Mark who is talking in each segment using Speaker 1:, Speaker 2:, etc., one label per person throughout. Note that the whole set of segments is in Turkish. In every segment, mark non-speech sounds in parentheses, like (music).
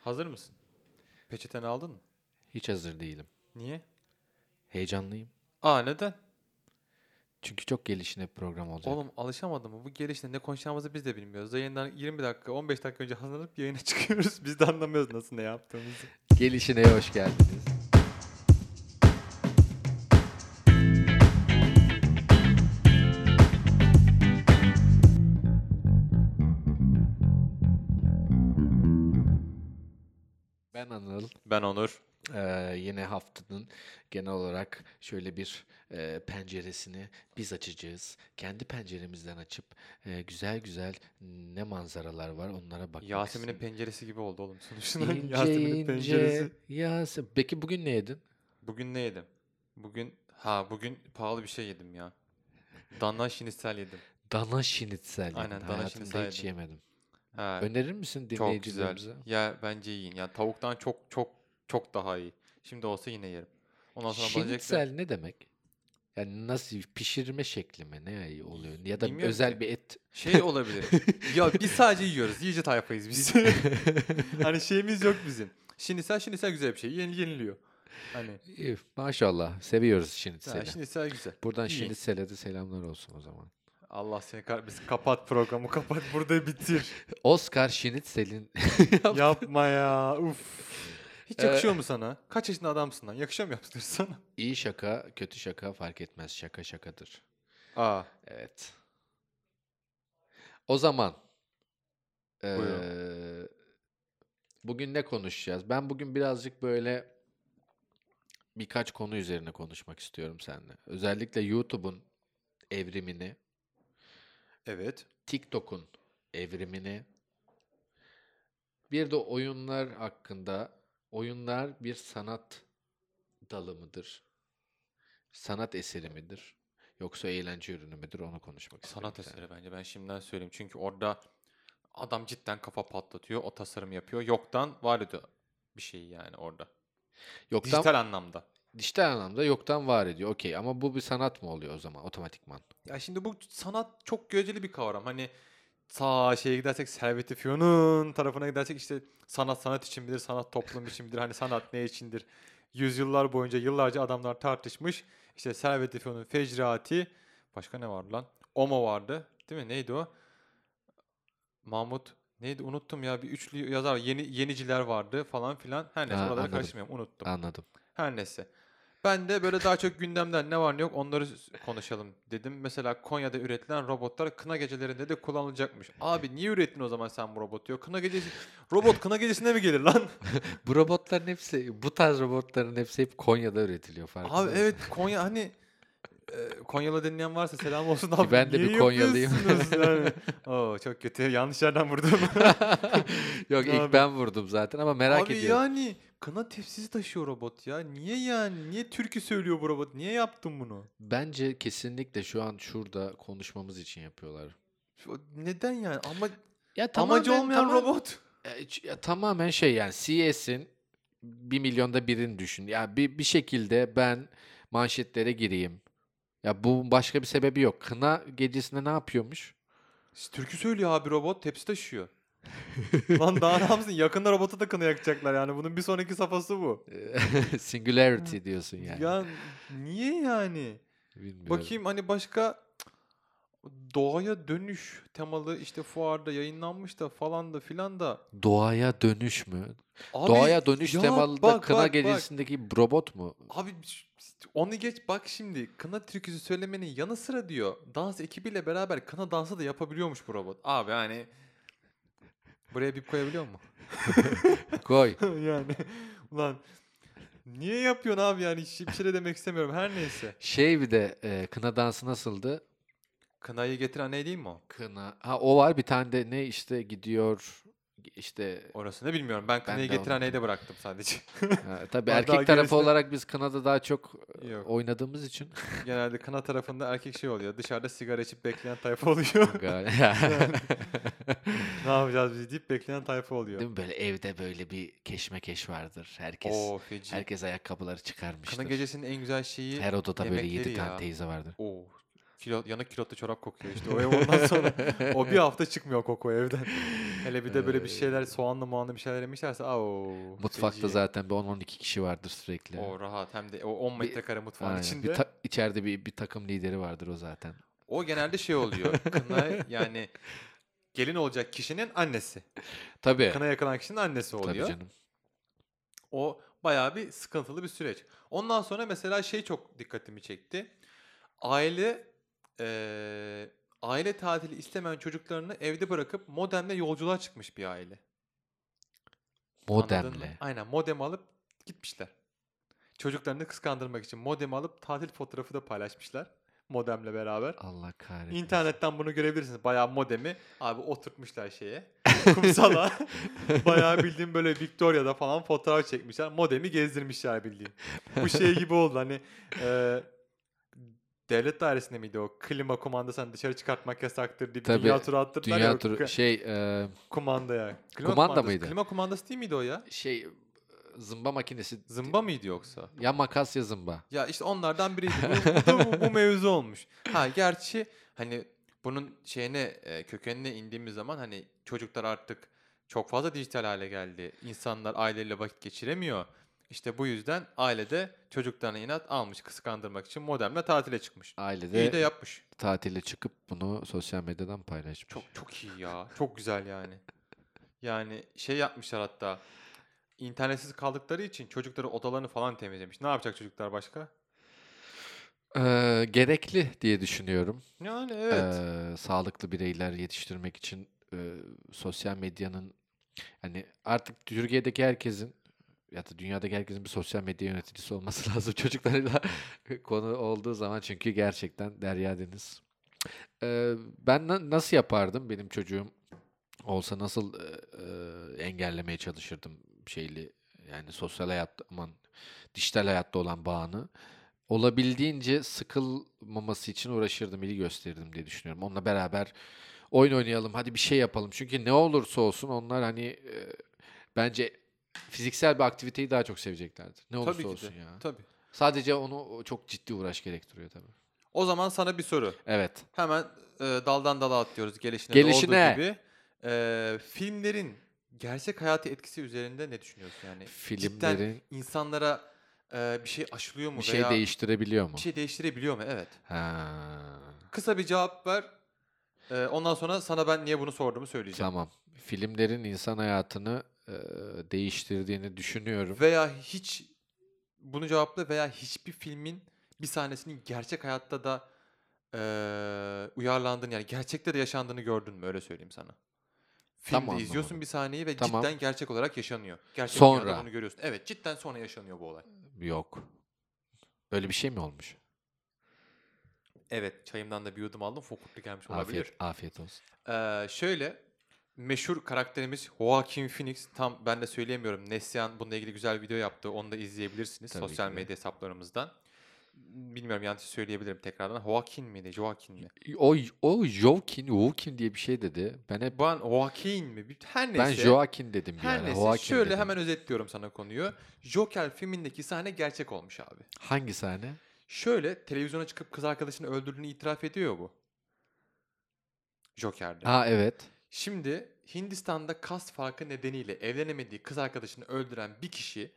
Speaker 1: Hazır mısın? Peçeteni aldın mı?
Speaker 2: Hiç hazır değilim.
Speaker 1: Niye?
Speaker 2: Heyecanlıyım.
Speaker 1: Aa neden?
Speaker 2: Çünkü çok gelişine bir program olacak.
Speaker 1: Oğlum alışamadım mı? Bu gelişte ne konuşacağımızı biz de bilmiyoruz. Yayından 20 dakika, 15 dakika önce hazırlanıp yayına (laughs) çıkıyoruz. Biz de anlamıyoruz nasıl ne yaptığımızı.
Speaker 2: Gelişine hoş geldiniz. Ben Anıl.
Speaker 1: Ben Onur.
Speaker 2: Ee, yine haftanın genel olarak şöyle bir e, penceresini biz açacağız. Kendi penceremizden açıp e, güzel güzel ne manzaralar var onlara bakmak
Speaker 1: Yasemin'in
Speaker 2: (laughs) istedim.
Speaker 1: penceresi gibi oldu oğlum sonuçta.
Speaker 2: İnce
Speaker 1: (laughs) Yasemin'in
Speaker 2: ince
Speaker 1: penceresi.
Speaker 2: Yase- Peki bugün ne yedin?
Speaker 1: Bugün ne yedim? Bugün ha bugün pahalı bir şey yedim ya. Dana şinisel yedim.
Speaker 2: Dana şinitsel yedim.
Speaker 1: Aynen, dana
Speaker 2: Hayatımda
Speaker 1: şinitsel
Speaker 2: hiç
Speaker 1: yedim.
Speaker 2: yemedim.
Speaker 1: Ha,
Speaker 2: Önerir misin
Speaker 1: çok güzel.
Speaker 2: dinleyicilerimize?
Speaker 1: Ya bence yiyin. Ya tavuktan çok çok çok daha iyi. Şimdi olsa yine yerim. Ondan sonra bakacak da-
Speaker 2: Şinitsel ne demek? Yani nasıl pişirme şekli mi? Ne oluyor? Ya da
Speaker 1: Bilmiyorum
Speaker 2: özel
Speaker 1: ki.
Speaker 2: bir et.
Speaker 1: Şey (laughs) olabilir. ya biz sadece yiyoruz. Yiyici tayfayız biz. (laughs) hani şeyimiz yok bizim. Şinisel şinisel güzel bir şey. Yeni, yeniliyor. Hani
Speaker 2: İyi, Maşallah seviyoruz şinitseli.
Speaker 1: ha, şinisel güzel.
Speaker 2: Buradan
Speaker 1: İyi.
Speaker 2: Şinitsel'e de selamlar olsun o zaman.
Speaker 1: Allah seni kahretmesin. Kapat programı kapat. Burada (laughs) bitir.
Speaker 2: Oscar Şinitsel'in (laughs)
Speaker 1: Yapma ya. Uf. Hiç
Speaker 2: Ee,
Speaker 1: yakışıyor mu sana? Kaç yaşında adamsın lan? Yakışıyor mu yaptıkları sana?
Speaker 2: iyi şaka, kötü şaka fark etmez. Şaka şakadır.
Speaker 1: Aa.
Speaker 2: Evet. O zaman
Speaker 1: Buyurun.
Speaker 2: eee, bugün ne konuşacağız? Ben bugün birazcık böyle birkaç konu üzerine konuşmak istiyorum seninle. Özellikle YouTube'un evrimini,
Speaker 1: Evet.
Speaker 2: TikTok'un evrimini, bir de oyunlar hakkında. Oyunlar bir sanat dalı mıdır? Sanat eseri midir? Yoksa eğlence ürünü müdür? Onu konuşmak istiyorum.
Speaker 1: Sanat
Speaker 2: seninle.
Speaker 1: eseri bence. Ben şimdiden söyleyeyim. Çünkü orada adam cidden kafa patlatıyor. O tasarım yapıyor. Yoktan var ediyor bir şey yani orada.
Speaker 2: Yoktan,
Speaker 1: Dijital
Speaker 2: dijital...
Speaker 1: anlamda.
Speaker 2: anlamda yoktan var ediyor. Okey ama bu bir sanat mı oluyor o zaman otomatikman?
Speaker 1: Ya şimdi bu sanat çok göreceli bir kavram. Hani sağ şeye gidersek Servet-i Fünun tarafına gidersek işte sanat sanat için midir, sanat toplum için midir, hani sanat ne içindir? Yüzyıllar boyunca yıllarca adamlar tartışmış. İşte Servet-i Fünun'un Fecrati, başka ne vardı lan? Omo vardı değil mi? Neydi o? Mahmut neydi unuttum ya bir üçlü yazar yeni yeniciler vardı falan filan. Her neyse
Speaker 2: Ha,
Speaker 1: oraları
Speaker 2: anladım.
Speaker 1: karıştırmayayım unuttum.
Speaker 2: Anladım. (laughs)
Speaker 1: Her neyse. Ben de böyle daha çok gündemden ne var ne yok onları s- konuşalım dedim. Mesela Konya'da üretilen robotlar kına gecelerinde de kullanılacakmış. Abi niye ürettin o zaman sen bu robotu? Yok kına gecesi robot kına gecesine mi gelir lan?
Speaker 2: bu robotların hepsi, bu tarz robotların hepsi hep Konya'da üretiliyor farkında
Speaker 1: abi
Speaker 2: mısın?
Speaker 1: evet Konya hani e, Konyalı dinleyen varsa selam olsun abi.
Speaker 2: E, Ben de
Speaker 1: niye
Speaker 2: bir Konyalıyım.
Speaker 1: yapıyorsunuz
Speaker 2: (laughs)
Speaker 1: Yani, oo, çok kötü. Yanlış yerden vurdum.
Speaker 2: (laughs) Yok ilk
Speaker 1: Abi.
Speaker 2: ben vurdum zaten ama (laughs) merak
Speaker 1: abi
Speaker 2: ediyorum.
Speaker 1: yani kına tepsisi taşıyor robot ya. Niye yani? Niye türkü söylüyor bu robot? Niye yaptın bunu?
Speaker 2: Bence kesinlikle şu an şurada konuşmamız için yapıyorlar.
Speaker 1: Şu- Neden yani? Ama
Speaker 2: Ya
Speaker 1: Amacı
Speaker 2: tamamen-
Speaker 1: olmayan
Speaker 2: tamam-
Speaker 1: robot.
Speaker 2: E, ç- ya tamamen şey yani CS'in bir milyonda birini düşün. Ya bir, bir şekilde ben manşetlere gireyim. Ya bu başka bir sebebi yok. Kına gecesinde ne yapıyormuş? (laughs)
Speaker 1: Türkü söylüyor abi robot tepsi taşıyor. Lan daha ne yapsın? Yakında robota da kına yakacaklar yani. Bunun bir sonraki safhası bu.
Speaker 2: Singularity diyorsun yani.
Speaker 1: Ya niye yani?
Speaker 2: Bilmiyorum.
Speaker 1: Bakayım hani başka doğaya dönüş temalı işte fuarda yayınlanmış da falan da filan da.
Speaker 2: Doğaya dönüş mü?
Speaker 1: Abi
Speaker 2: Doğaya dönüş
Speaker 1: ya
Speaker 2: temalı da
Speaker 1: bak,
Speaker 2: kına
Speaker 1: bak, bak.
Speaker 2: gecesindeki robot mu?
Speaker 1: Abi onu geç bak şimdi kına türküsü söylemenin yanı sıra diyor. Dans ekibiyle beraber kına dansı da yapabiliyormuş bu robot. Abi hani buraya bir koyabiliyor mu?
Speaker 2: Koy.
Speaker 1: (laughs) yani ulan niye yapıyorsun abi yani hiç bir şey de demek istemiyorum her neyse.
Speaker 2: Şey bir de e, kına dansı nasıldı?
Speaker 1: Kınayı getiren ne değil mi o?
Speaker 2: Kına. Ha o var bir tane de ne işte gidiyor işte
Speaker 1: Orasını bilmiyorum. Ben kınayı
Speaker 2: de
Speaker 1: getiren neyi
Speaker 2: anlamadım.
Speaker 1: de bıraktım sadece. (laughs)
Speaker 2: Ha, tabii
Speaker 1: Var,
Speaker 2: erkek
Speaker 1: daha
Speaker 2: tarafı
Speaker 1: gerisine-
Speaker 2: olarak biz kınada daha çok e,
Speaker 1: Yok. (laughs)
Speaker 2: oynadığımız için. (laughs)
Speaker 1: Genelde kına tarafında erkek şey oluyor. Dışarıda sigara içip bekleyen tayfa
Speaker 2: (laughs)
Speaker 1: oluyor. ne yapacağız biz deyip bekleyen tayfa oluyor.
Speaker 2: Değil mi böyle evde böyle bir keşmekeş vardır. Herkes
Speaker 1: Oo feci.
Speaker 2: herkes ayakkabıları çıkarmıştır.
Speaker 1: Kına gecesinin en güzel şeyi
Speaker 2: Her odada böyle
Speaker 1: yemekleri
Speaker 2: 7 tane
Speaker 1: ya.
Speaker 2: teyze vardır.
Speaker 1: Oo. Kilo, yanık kilotlu çorap kokuyor işte. O ev ondan
Speaker 2: (laughs)
Speaker 1: sonra o bir hafta çıkmıyor koku evden. Hele bir de böyle bir şeyler soğanlı muanlı bir şeyler yemişlerse au.
Speaker 2: Mutfakta
Speaker 1: feci.
Speaker 2: zaten bir 10-12 kişi vardır sürekli.
Speaker 1: O rahat hem de o 10 metrekare mutfağın
Speaker 2: Aynen.
Speaker 1: içinde.
Speaker 2: Bir ta- içeride bir, bir takım lideri vardır o zaten.
Speaker 1: O genelde şey
Speaker 2: (laughs)
Speaker 1: oluyor. Kına yani gelin olacak kişinin annesi.
Speaker 2: Tabii.
Speaker 1: Kına yakılan kişinin annesi
Speaker 2: Tabii
Speaker 1: oluyor.
Speaker 2: canım.
Speaker 1: O bayağı bir sıkıntılı bir süreç. Ondan sonra mesela şey çok dikkatimi çekti. Aile eee, aile tatili istemeyen çocuklarını evde bırakıp modemle yolculuğa çıkmış bir aile. Anladın mı?
Speaker 2: Modemle.
Speaker 1: Aynen modem alıp gitmişler. Çocuklarını kıskandırmak için modem alıp tatil fotoğrafı da paylaşmışlar modemle beraber.
Speaker 2: Allah kahretsin.
Speaker 1: İnternetten bunu görebilirsiniz. Bayağı modemi abi oturtmuşlar şeye. (laughs) Kumsala.
Speaker 2: (laughs)
Speaker 1: Bayağı bildiğim böyle Victoria'da falan fotoğraf çekmişler. Modemi gezdirmişler bildiğin. Bu şey gibi oldu hani e, devlet dairesinde miydi o? Klima kumandasını dışarı çıkartmak yasaktır diye bir
Speaker 2: Tabii.
Speaker 1: dünya turu attırdılar ya
Speaker 2: Dünya
Speaker 1: o
Speaker 2: turu
Speaker 1: k-
Speaker 2: şey e,
Speaker 1: kumandaya. Klima
Speaker 2: Kumanda
Speaker 1: kumandası-
Speaker 2: mıydı?
Speaker 1: Klima kumandası değil miydi o ya?
Speaker 2: şey e, zımba makinesi.
Speaker 1: Zımba mıydı yoksa?
Speaker 2: Ya makas ya zımba.
Speaker 1: Ya işte onlardan biriydi. Bu, bu- bu- bu mevzu olmuş. Ha gerçi hani bunun şeyine e, kökenine indiğimiz zaman hani çocuklar artık çok fazla dijital hale geldi. İnsanlar aileyle vakit geçiremiyor. İşte bu yüzden ailede çocuklarına inat almış kıskandırmak için modemle tatile çıkmış. İyi de
Speaker 2: Ailede
Speaker 1: yapmış.
Speaker 2: tatile çıkıp bunu sosyal medyadan paylaşmış.
Speaker 1: Çok çok iyi ya. Çok güzel yani. Yani şey yapmışlar hatta. internetsiz kaldıkları için çocukları odalarını falan temizlemiş. Ne yapacak çocuklar başka?
Speaker 2: E, gerekli diye düşünüyorum.
Speaker 1: Yani evet.
Speaker 2: E, sağlıklı bireyler yetiştirmek için e, sosyal medyanın hani artık Türkiye'deki herkesin ya da dünyadaki herkesin bir sosyal medya yöneticisi olması (laughs) lazım çocuklarıyla konu olduğu zaman çünkü gerçekten derya deniz. Ee, ben na- nasıl yapardım benim çocuğum olsa nasıl e, e, engellemeye çalışırdım şeyli yani sosyal hayatta aman dijital hayatta olan bağını olabildiğince sıkılmaması için uğraşırdım, ilgi gösterirdim diye düşünüyorum. Onunla beraber oyun oynayalım, hadi bir şey yapalım. Çünkü ne olursa olsun onlar hani e, bence fiziksel bir aktiviteyi daha çok seveceklerdir. Ne olursa
Speaker 1: Tabii ki
Speaker 2: olsun
Speaker 1: de.
Speaker 2: ya.
Speaker 1: Tabii.
Speaker 2: Sadece onu çok ciddi uğraş gerektiriyor tabii.
Speaker 1: O zaman sana bir soru.
Speaker 2: Evet.
Speaker 1: Hemen e, daldan dala atlıyoruz gelişine, de
Speaker 2: Gelişine.
Speaker 1: olduğu gibi. E, filmlerin gerçek hayatı etkisi üzerinde ne düşünüyorsun yani? Cidden
Speaker 2: Filmlerin
Speaker 1: insanlara e, bir şey aşılıyor mu
Speaker 2: bir şey
Speaker 1: veya
Speaker 2: değiştirebiliyor mu?
Speaker 1: bir şey değiştirebiliyor mu? Evet.
Speaker 2: Ha.
Speaker 1: Kısa bir cevap ver. E, ondan sonra sana ben niye bunu sorduğumu söyleyeceğim.
Speaker 2: Tamam. Filmlerin insan hayatını e, değiştirdiğini düşünüyorum.
Speaker 1: Veya hiç bunu cevapla veya hiçbir filmin bir sahnesinin gerçek hayatta da e, uyarlandığını yani gerçekte de yaşandığını gördün mü öyle söyleyeyim sana. Filmde
Speaker 2: Tam anlamadım.
Speaker 1: izliyorsun bir sahneyi ve
Speaker 2: Tamam.
Speaker 1: cidden gerçek olarak yaşanıyor. Gerçek
Speaker 2: Sonra.
Speaker 1: dünyada bunu görüyorsun. Evet cidden sonra yaşanıyor bu olay.
Speaker 2: Yok. Öyle bir şey mi olmuş?
Speaker 1: Evet çayımdan da bir yudum aldım fokurtlu gelmiş olabilir.
Speaker 2: Afiyet, afiyet olsun.
Speaker 1: Ee, şöyle meşhur karakterimiz Joaquin Phoenix tam ben de söyleyemiyorum. Neslihan bununla ilgili güzel bir video yaptı. Onu da izleyebilirsiniz
Speaker 2: Tabii
Speaker 1: sosyal
Speaker 2: ki de.
Speaker 1: medya hesaplarımızdan. Bilmiyorum yanlış söyleyebilirim tekrardan. Joaquin miydi? Joaquin mi?
Speaker 2: O o Joaquin, Joaquin diye bir şey dedi. Ben hep
Speaker 1: Ben Joaquin mi? Bir- Her neyse.
Speaker 2: ben Joaquin dedim bir
Speaker 1: Her
Speaker 2: ara,
Speaker 1: neyse.
Speaker 2: Joaquin
Speaker 1: şöyle
Speaker 2: dedim.
Speaker 1: hemen özetliyorum sana konuyu. Joker filmindeki sahne gerçek olmuş abi.
Speaker 2: hangi sahne?
Speaker 1: Şöyle televizyona çıkıp kız arkadaşını öldürdüğünü itiraf ediyor bu. Joker'de.
Speaker 2: Ha evet.
Speaker 1: Şimdi Hindistan'da kas farkı nedeniyle evlenemediği kız arkadaşını öldüren bir kişi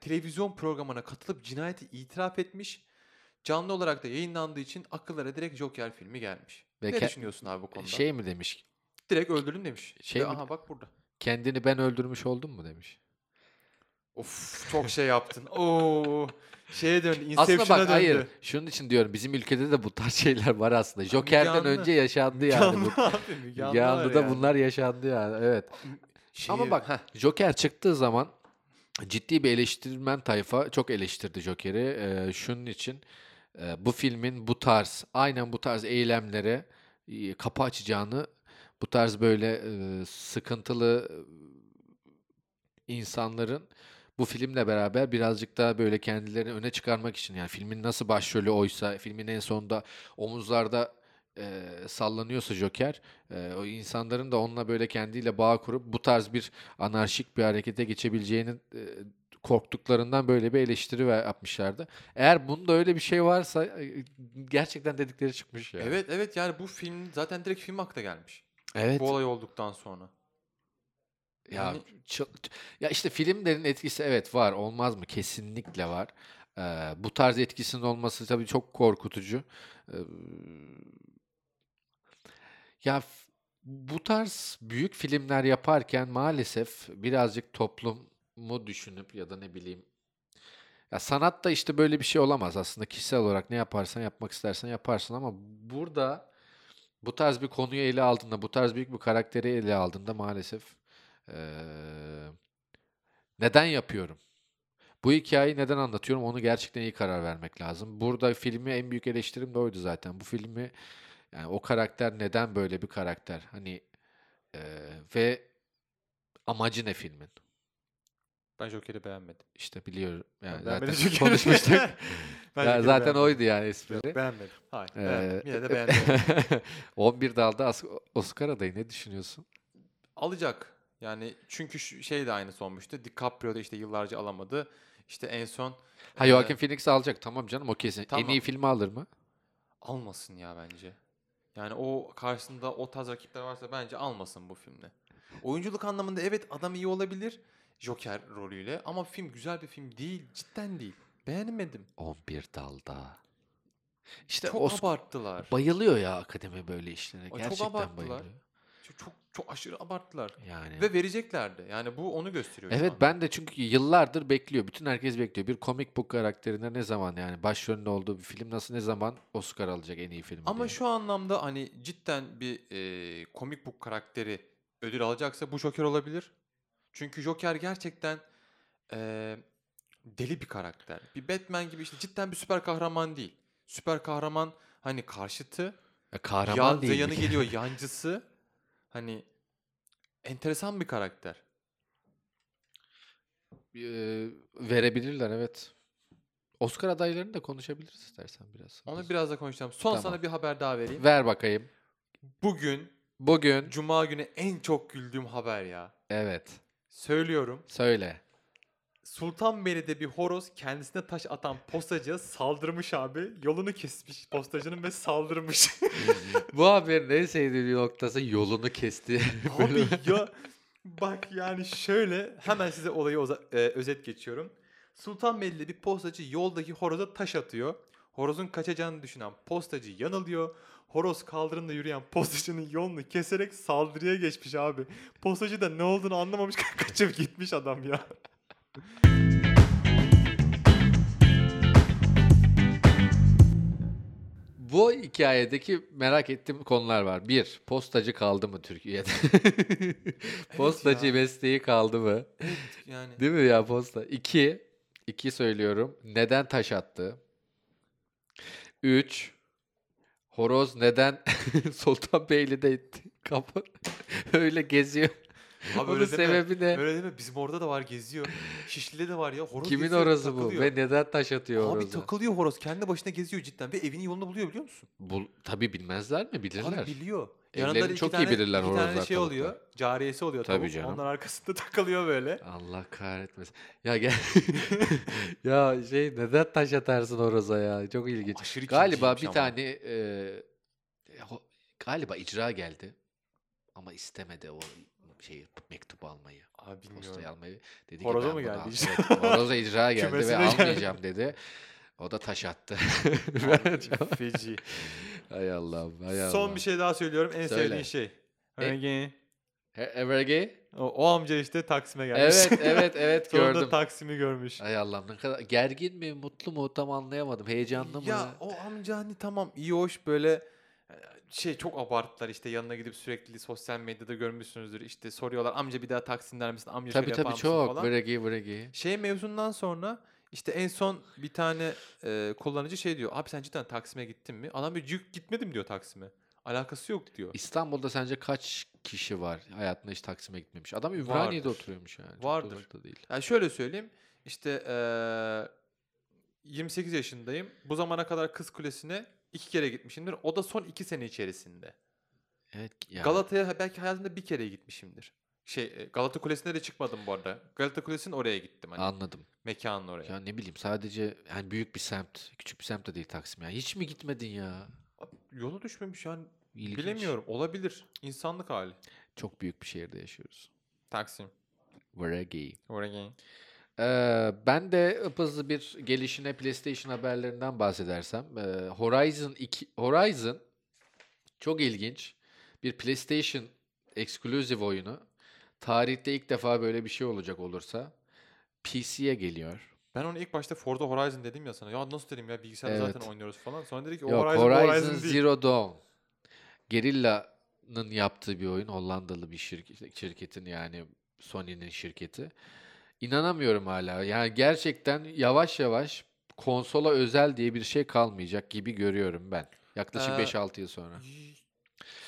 Speaker 1: televizyon programına katılıp cinayeti itiraf etmiş. Canlı olarak da yayınlandığı için akıllara direkt Joker filmi gelmiş.
Speaker 2: Ve
Speaker 1: ne
Speaker 2: ke-
Speaker 1: düşünüyorsun abi bu konuda?
Speaker 2: Şey mi demiş?
Speaker 1: direkt öldürdüm demiş.
Speaker 2: şey
Speaker 1: Ve
Speaker 2: mi-
Speaker 1: aha bak burada.
Speaker 2: Kendini ben öldürmüş oldum mu demiş.
Speaker 1: Of çok şey yaptın. Oo şeye döndü.
Speaker 2: Aslında bak
Speaker 1: Inception'a döndü.
Speaker 2: hayır. Şunun için diyorum bizim ülkede de bu tarz şeyler var aslında. Joker'den
Speaker 1: Anlı.
Speaker 2: önce yaşandı yani
Speaker 1: Yandı
Speaker 2: bu.
Speaker 1: abi, Müge Anlı var
Speaker 2: Yandı da
Speaker 1: yani.
Speaker 2: bunlar yaşandı yani. Evet.
Speaker 1: Şeyi-
Speaker 2: Ama bak
Speaker 1: Heh,
Speaker 2: Joker çıktığı zaman ciddi bir eleştirmen tayfa çok eleştirdi Joker'i. Ee, şunun için e, bu filmin bu tarz aynen bu tarz eylemlere e, kapı açacağını bu tarz böyle e, sıkıntılı e, insanların bu filmle beraber birazcık daha böyle kendilerini öne çıkarmak için yani filmin nasıl başrolü oysa filmin en sonunda omuzlarda e, sallanıyorsa Joker e, o insanların da onunla böyle kendiyle bağ kurup bu tarz bir anarşik bir harekete geçebileceğini e, korktuklarından böyle bir eleştiri ver- yapmışlardı. Eğer bunda öyle bir şey varsa e, gerçekten dedikleri çıkmış ya.
Speaker 1: Evet evet yani bu film zaten direkt film akta gelmiş.
Speaker 2: Evet.
Speaker 1: Bu olay olduktan sonra.
Speaker 2: Ya
Speaker 1: Yani-
Speaker 2: çıl- ya işte filmlerin etkisi evet var, olmaz mı? Kesinlikle var. Ee, bu tarz etkisinin olması tabii çok korkutucu. Ee, ya f- bu tarz büyük filmler yaparken maalesef birazcık toplumu düşünüp ya da ne bileyim ya sanatta işte böyle bir şey olamaz aslında kişisel olarak ne yaparsan yapmak istersen yaparsın ama burada bu tarz bir konuyu ele aldığında bu tarz büyük bir karakteri ele aldığında maalesef Eee, neden yapıyorum? Bu hikayeyi neden anlatıyorum? Onu gerçekten iyi karar vermek lazım. Burada filmi en büyük eleştirim de oydu zaten. Bu filmi yani o karakter neden böyle bir karakter? Hani eee, ve amacı ne filmin?
Speaker 1: Ben Joker'i beğenmedim.
Speaker 2: İşte biliyorum. Yani
Speaker 1: Ben beğenmedim
Speaker 2: zaten (laughs)
Speaker 1: Joker'i.
Speaker 2: konuşmuştuk.
Speaker 1: (laughs) Ben
Speaker 2: Ya
Speaker 1: Joker'i
Speaker 2: zaten
Speaker 1: beğenmedim.
Speaker 2: oydu yani (laughs) espri.
Speaker 1: Beğenmedim. Hayır.
Speaker 2: Eee,
Speaker 1: beğenmedim. Yine de beğendim.
Speaker 2: 11 dalda As- Oscar adayı ne düşünüyorsun?
Speaker 1: (laughs) alacak. Yani çünkü şu- şey de aynısı olmuştu. DiCaprio da işte yıllarca alamadı. İşte en son
Speaker 2: Ha
Speaker 1: eee,
Speaker 2: Joaquin Phoenix alacak tamam canım o kesin. En
Speaker 1: Tamam.
Speaker 2: iyi filmi alır mı?
Speaker 1: almasın ya bence. Yani o karşısında o tarz rakipler varsa bence almasın bu filmle. Oyunculuk anlamında evet adam iyi olabilir Joker rolüyle ama film güzel bir film değil. Cidden değil. Beğenmedim.
Speaker 2: 11 dalda. İşte
Speaker 1: çok
Speaker 2: Oscar
Speaker 1: abarttılar.
Speaker 2: bayılıyor ya akademi böyle işlere.
Speaker 1: çok
Speaker 2: Gerçekten
Speaker 1: abarttılar.
Speaker 2: bayılıyor.
Speaker 1: çok, çok çok aşırı abarttılar.
Speaker 2: Yani.
Speaker 1: Ve vereceklerdi. Yani bu onu gösteriyor. şu
Speaker 2: evet
Speaker 1: an.
Speaker 2: ben de çünkü yıllardır bekliyor. Bütün herkes bekliyor. Bir komik book karakterine ne zaman yani başrolünde olduğu bir film nasıl ne zaman Oscar alacak en iyi film
Speaker 1: Ama
Speaker 2: diye.
Speaker 1: şu anlamda hani cidden bir e, komik book karakteri ödül alacaksa bu Joker olabilir. Çünkü Joker gerçekten e, deli bir karakter. Bir Batman gibi işte cidden bir süper kahraman değil. Süper kahraman hani karşıtı,
Speaker 2: Ya
Speaker 1: yan,
Speaker 2: kahraman değil.
Speaker 1: yanı
Speaker 2: bir- (laughs)
Speaker 1: geliyor yancısı. Hani enteresan bir karakter.
Speaker 2: Eee, verebilirler evet. Oscar adaylarını da konuşabiliriz istersen biraz.
Speaker 1: Onu biraz da konuşacağım. Son
Speaker 2: Tamam.
Speaker 1: sana bir haber daha vereyim.
Speaker 2: Ver bakayım.
Speaker 1: Bugün
Speaker 2: Bugün
Speaker 1: Cuma günü en çok güldüğüm haber ya.
Speaker 2: evet
Speaker 1: Söylüyorum.
Speaker 2: söyle.
Speaker 1: Sultanbeyli'de bir horoz kendisine taş atan postacıya saldırmış abi. Yolunu kesmiş postacının ve saldırmış.
Speaker 2: Bu haberin en sevdiğim noktası yolunu
Speaker 1: (laughs)
Speaker 2: kesti.
Speaker 1: abi ya bak yani şöyle hemen size olayı oza- e, özet geçiyorum. Sultanbeyli'de bir postacı yoldaki horoza taş atıyor. Horozun kaçacağını düşünen postacı yanılıyor. Horoz kaldırımda yürüyen postacının yolunu keserek saldırıya geçmiş abi. Postacı da ne olduğunu anlamamış (laughs) kaçıp gitmiş adam ya.
Speaker 2: Bu hikayedeki merak ettiğim konular var. Bir, postacı kaldı
Speaker 1: (laughs)
Speaker 2: mı Türkiye'de? postacı
Speaker 1: ya.
Speaker 2: mesleği kaldı mı?
Speaker 1: Yani
Speaker 2: Değil mi ya posta? İki, iki söylüyorum. Neden taş attı? Üç, horoz neden (laughs) Sultanbeyli'de kapı (laughs) öyle geziyor?
Speaker 1: Abi
Speaker 2: Bunun
Speaker 1: öyle deme.
Speaker 2: sebebi ne?
Speaker 1: Öyle deme. Bizim orada da var geziyor. Şişli'de de var ya. Horoz
Speaker 2: Kimin
Speaker 1: geziyor,
Speaker 2: horozu bu?
Speaker 1: takılıyor.
Speaker 2: Ve neden taş atıyor
Speaker 1: Abi
Speaker 2: horoza?
Speaker 1: takılıyor horoz. Kendi başına geziyor cidden. Ve evinin yolunu buluyor biliyor musun?
Speaker 2: Bu, tabii bilmezler mi? Bilirler.
Speaker 1: Abi biliyor.
Speaker 2: Evlerini
Speaker 1: Yanında da iki
Speaker 2: çok iyi
Speaker 1: tane-
Speaker 2: bilirler
Speaker 1: iki
Speaker 2: horozlar
Speaker 1: tane şey
Speaker 2: tavuklar.
Speaker 1: oluyor. Cariyesi oluyor
Speaker 2: Tabii
Speaker 1: tavuk.
Speaker 2: canım.
Speaker 1: Onlar arkasında (laughs) takılıyor böyle.
Speaker 2: Allah kahretmesin. Ya gel. (laughs) ya şey neden taş atarsın horoza ya? Çok ilginç.
Speaker 1: Aşırı
Speaker 2: Galiba bir
Speaker 1: kinciymiş ama.
Speaker 2: tane e, ho- galiba icra geldi. Ama istemedi o şeyi mektup almayı,
Speaker 1: Abi
Speaker 2: postayı
Speaker 1: bilmiyorum.
Speaker 2: almayı. Dedi ki
Speaker 1: Horoza
Speaker 2: ben
Speaker 1: mı
Speaker 2: bunu
Speaker 1: geldi
Speaker 2: al-
Speaker 1: icra?
Speaker 2: Evet, horoza
Speaker 1: (laughs)
Speaker 2: icra geldi ve
Speaker 1: Kümesine geldi.
Speaker 2: almayacağım dedi. O da
Speaker 1: (laughs)
Speaker 2: taş attı. (laughs)
Speaker 1: Abi, Feci.
Speaker 2: hay Allah'ım, hay Allah'ım.
Speaker 1: Son bir şey daha söylüyorum. En
Speaker 2: Söyle.
Speaker 1: sevdiğin şey. Örneğin
Speaker 2: E- Everge?
Speaker 1: o, o amca işte Taksim'e gelmiş. (laughs)
Speaker 2: Evet, evet, evet gördüm.
Speaker 1: Sonunda Taksim'i görmüş.
Speaker 2: Ay Allah'ım ne kadar gergin mi mutlu mu tam anlayamadım heyecanlı mı?
Speaker 1: Ya o amca hani tamam iyi hoş böyle e, şey çok abarttılar işte yanına gidip sürekli sosyal medyada görmüşsünüzdür işte soruyorlar amca bir daha Taksim'den misin amca
Speaker 2: tabii
Speaker 1: şöyle yapar
Speaker 2: tabii
Speaker 1: mısın
Speaker 2: çok
Speaker 1: falan.
Speaker 2: bragi bragi.
Speaker 1: Şey mevzundan sonra işte en son bir tane e, kullanıcı şey diyor abi sen cidden Taksim'e gittin mi? Adam diyor "Yok, gitmedim diyor Taksim'e alakası yok diyor.
Speaker 2: İstanbul'da sence kaç kişi var hayatında hiç Taksim'e gitmemiş? Adam Ümraniye'de
Speaker 1: Vardır.
Speaker 2: oturuyormuş yani. Çok da
Speaker 1: Vardır.
Speaker 2: uzak da değil.
Speaker 1: Yani şöyle söyleyeyim işte e, 28 yaşındayım bu zamana kadar Kız Kulesi'ne iki kere gitmişimdir o da son iki sene içerisinde.
Speaker 2: Evet ya.
Speaker 1: Galata'ya belki hayatımda bir kere gitmişimdir. Şey e, Galata Kulesi'ne de çıkmadım bu arada. Galata Kulesi'nin oraya gittim hani.
Speaker 2: Anladım.
Speaker 1: Mekanın oraya.
Speaker 2: Ya ne bileyim sadece yani büyük bir semt, küçük bir semt de değil Taksim ya. Hiç mi gitmedin ya?
Speaker 1: Abi, Yolu düşmemiş yani.
Speaker 2: İlginç.
Speaker 1: Bilemiyorum. Olabilir. İnsanlık hali.
Speaker 2: Çok büyük bir şehirde yaşıyoruz.
Speaker 1: Taksim.
Speaker 2: Varagi.
Speaker 1: Oraya
Speaker 2: Ee, ben de hızlı bir gelişine PlayStation haberlerinden bahsedersem. ee, Horizon 2, Horizon çok ilginç. Bir PlayStation exclusive oyunu. Tarihte ilk defa böyle bir şey olacak olursa PC'ye geliyor.
Speaker 1: Ben onu ilk başta Forza Horizon dedim ya sana. Ya nasıl dedim ya bilgisayarda
Speaker 2: Evet.
Speaker 1: zaten oynuyoruz falan. Sonra dedi ki o
Speaker 2: Yok
Speaker 1: Horizon,
Speaker 2: Horizon,
Speaker 1: bu Horizon değil.
Speaker 2: Zero Dawn. Guerrilla'nın yaptığı bir oyun. Hollandalı bir şirket, şirketin yani Sony'nin şirketi. İnanamıyorum hala. Yani gerçekten yavaş yavaş konsola özel diye bir şey kalmayacak gibi görüyorum ben. Yaklaşık
Speaker 1: Ee,
Speaker 2: 5-6 yıl sonra.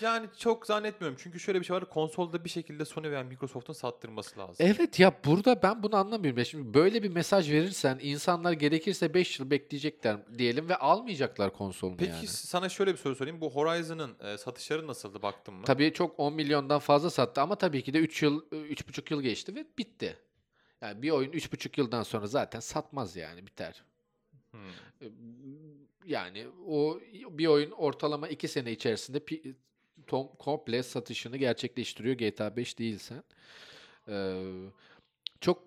Speaker 1: Yani çok zannetmiyorum. Çünkü şöyle bir şey var. Konsolda bir şekilde Sony veya Microsoft'un sattırması lazım.
Speaker 2: Evet ya burada ben bunu anlamıyorum. Ya Şimdi böyle bir mesaj verirsen insanlar gerekirse 5 yıl bekleyecekler diyelim ve almayacaklar konsolunu
Speaker 1: Peki
Speaker 2: yani.
Speaker 1: sana şöyle bir soru sorayım. Bu Horizon'ın e, satışları nasıldı baktın mı?
Speaker 2: Tabii çok 10 milyondan fazla sattı ama tabii ki de 3 yıl 3,5 yıl geçti ve bitti. Yani bir oyun 3,5 yıldan sonra zaten satmaz yani biter.
Speaker 1: Hmm.
Speaker 2: Ee, Yani o bir oyun ortalama 2 sene içerisinde pi- tom, komple satışını gerçekleştiriyor GTA 5 değilsen. Ee, çok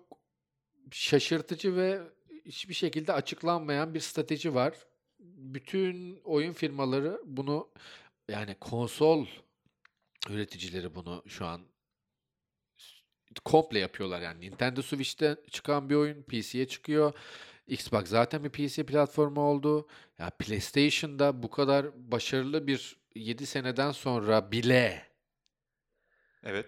Speaker 2: şaşırtıcı ve hiçbir şekilde açıklanmayan bir strateji var. Bütün oyun firmaları bunu yani konsol üreticileri bunu şu an komple yapıyorlar yani. Nintendo Switch'te çıkan bir oyun PC'ye çıkıyor. Xbox zaten bir PC platformu oldu. Ya PlayStation'da bu kadar başarılı bir 7 seneden sonra bile
Speaker 1: Evet.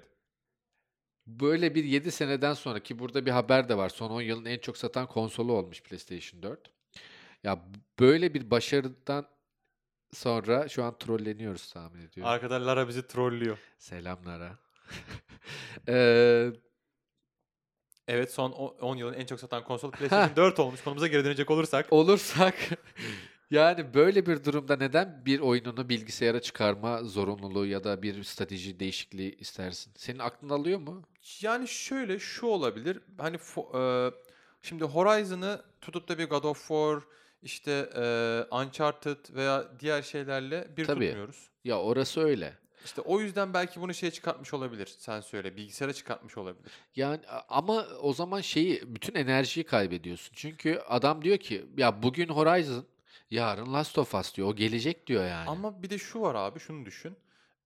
Speaker 2: böyle bir 7 seneden sonra ki burada bir haber de var. Son 10 yılın en çok satan konsolu olmuş PlayStation 4. Ya b- böyle bir başarıdan sonra şu an trolleniyoruz tahmin ediyorum.
Speaker 1: Arkada Lara bizi trollüyor.
Speaker 2: Selamlara. (laughs) Eee
Speaker 1: Evet son o- 10 yılın en çok satan (laughs) konsol PlayStation 4 olmuş. Konumuza geri dönecek olursak.
Speaker 2: olursak (laughs) yani böyle bir durumda neden bir oyununu bilgisayara çıkarma zorunluluğu ya da bir strateji değişikliği istersin? Senin aklın alıyor mu?
Speaker 1: Yani şöyle şu olabilir. Hani fo- e, şimdi Horizon'ı tutup da bir God of War, işte e, Uncharted veya diğer şeylerle bir
Speaker 2: Tabii.
Speaker 1: tutmuyoruz.
Speaker 2: Ya orası öyle.
Speaker 1: İşte o yüzden belki bunu şeye çıkartmış olabilir. Sen söyle. Bilgisayara çıkartmış olabilir.
Speaker 2: Yani a- ama o zaman şeyi bütün enerjiyi kaybediyorsun. Çünkü adam diyor ki ya bugün Horizon, yarın Last of Us diyor. O gelecek diyor yani.
Speaker 1: Ama bir de şu var abi şunu düşün.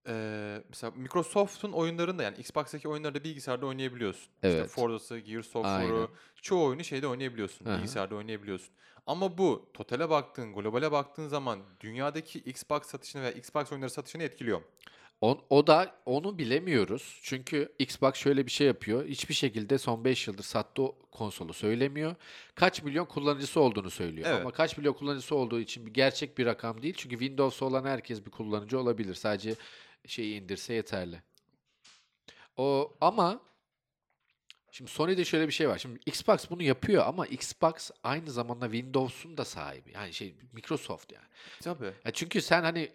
Speaker 1: Ee, mesela Microsoft'un oyunlarında yani Xbox'taki oyunları da bilgisayarda oynayabiliyorsun. İşte
Speaker 2: Evet.
Speaker 1: Forza'sı, Gears of
Speaker 2: Aynen.
Speaker 1: War'u çoğu oyunu şeyde oynayabiliyorsun.
Speaker 2: Aha.
Speaker 1: Bilgisayarda oynayabiliyorsun. Ama bu totale baktığın, globale baktığın zaman dünyadaki Xbox satışını veya Xbox oyunları satışını etkiliyor.
Speaker 2: O, o da onu bilemiyoruz. Çünkü Xbox şöyle bir şey yapıyor. Hiçbir şekilde son 5 yıldır sattığı o konsolu söylemiyor. Kaç milyon kullanıcısı olduğunu söylüyor.
Speaker 1: Evet.
Speaker 2: Ama kaç milyon kullanıcısı olduğu için bir gerçek bir rakam değil. Çünkü Windows olan herkes bir kullanıcı olabilir. Sadece şeyi indirse yeterli. O ama şimdi Sony'de şöyle bir şey var. Şimdi Xbox bunu yapıyor ama Xbox aynı zamanda Windows'un da sahibi. Yani şey Microsoft yani.
Speaker 1: Tabii.
Speaker 2: Ya çünkü sen hani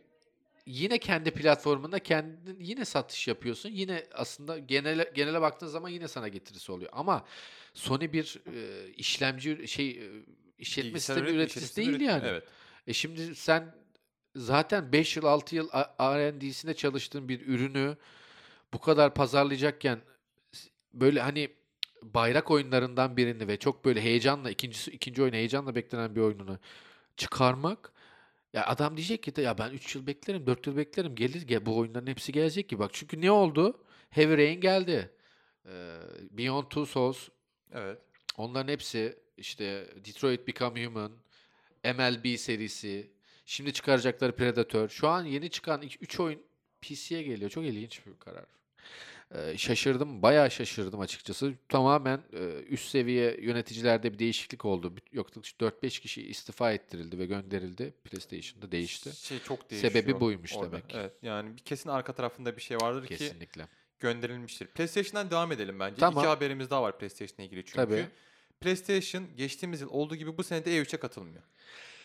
Speaker 2: yine kendi platformunda kendin yine satış yapıyorsun. Yine aslında genele genele baktığın zaman yine sana getirisi oluyor. Ama Sony bir e, işlemci şey e, işletme
Speaker 1: Bilgisayar
Speaker 2: sistemi
Speaker 1: üretimi,
Speaker 2: üreticisi
Speaker 1: işleticisi
Speaker 2: değil
Speaker 1: üretimi.
Speaker 2: yani.
Speaker 1: Evet.
Speaker 2: E şimdi sen zaten 5 yıl 6 yıl A- R&D'sinde çalıştığın bir ürünü bu kadar pazarlayacakken s- böyle hani bayrak oyunlarından birini ve çok böyle heyecanla ikincisi ikinci oyun heyecanla beklenen bir oyununu çıkarmak ya adam diyecek ki de ya ben 3 yıl beklerim 4 yıl beklerim gelir gel bu oyunların hepsi gelecek ki bak çünkü ne oldu? Heavy Rain geldi. Ee, Beyond Two Souls
Speaker 1: Evet.
Speaker 2: Onların hepsi işte Detroit Become Human, MLB serisi, şimdi çıkaracakları Predator. Şu an yeni çıkan 3 oyun PC'ye geliyor. Çok ilginç bir karar. Ee, şaşırdım, bayağı şaşırdım açıkçası. Tamamen e, üst seviye yöneticilerde bir değişiklik oldu. Bir- Yok 4-5 kişi istifa ettirildi ve gönderildi. PlayStation'da değişti.
Speaker 1: Şey çok değişiyor.
Speaker 2: Sebebi buymuş
Speaker 1: orada.
Speaker 2: demek.
Speaker 1: Evet. Yani bir kesin arka tarafında bir şey vardır ki
Speaker 2: Kesinlikle.
Speaker 1: gönderilmiştir. PlayStation'dan devam edelim bence.
Speaker 2: Tamam.
Speaker 1: İki haberimiz daha var PlayStation'la ilgili çünkü.
Speaker 2: Tabii.
Speaker 1: PlayStation geçtiğimiz yıl olduğu gibi bu sene de E3'e katılmıyor.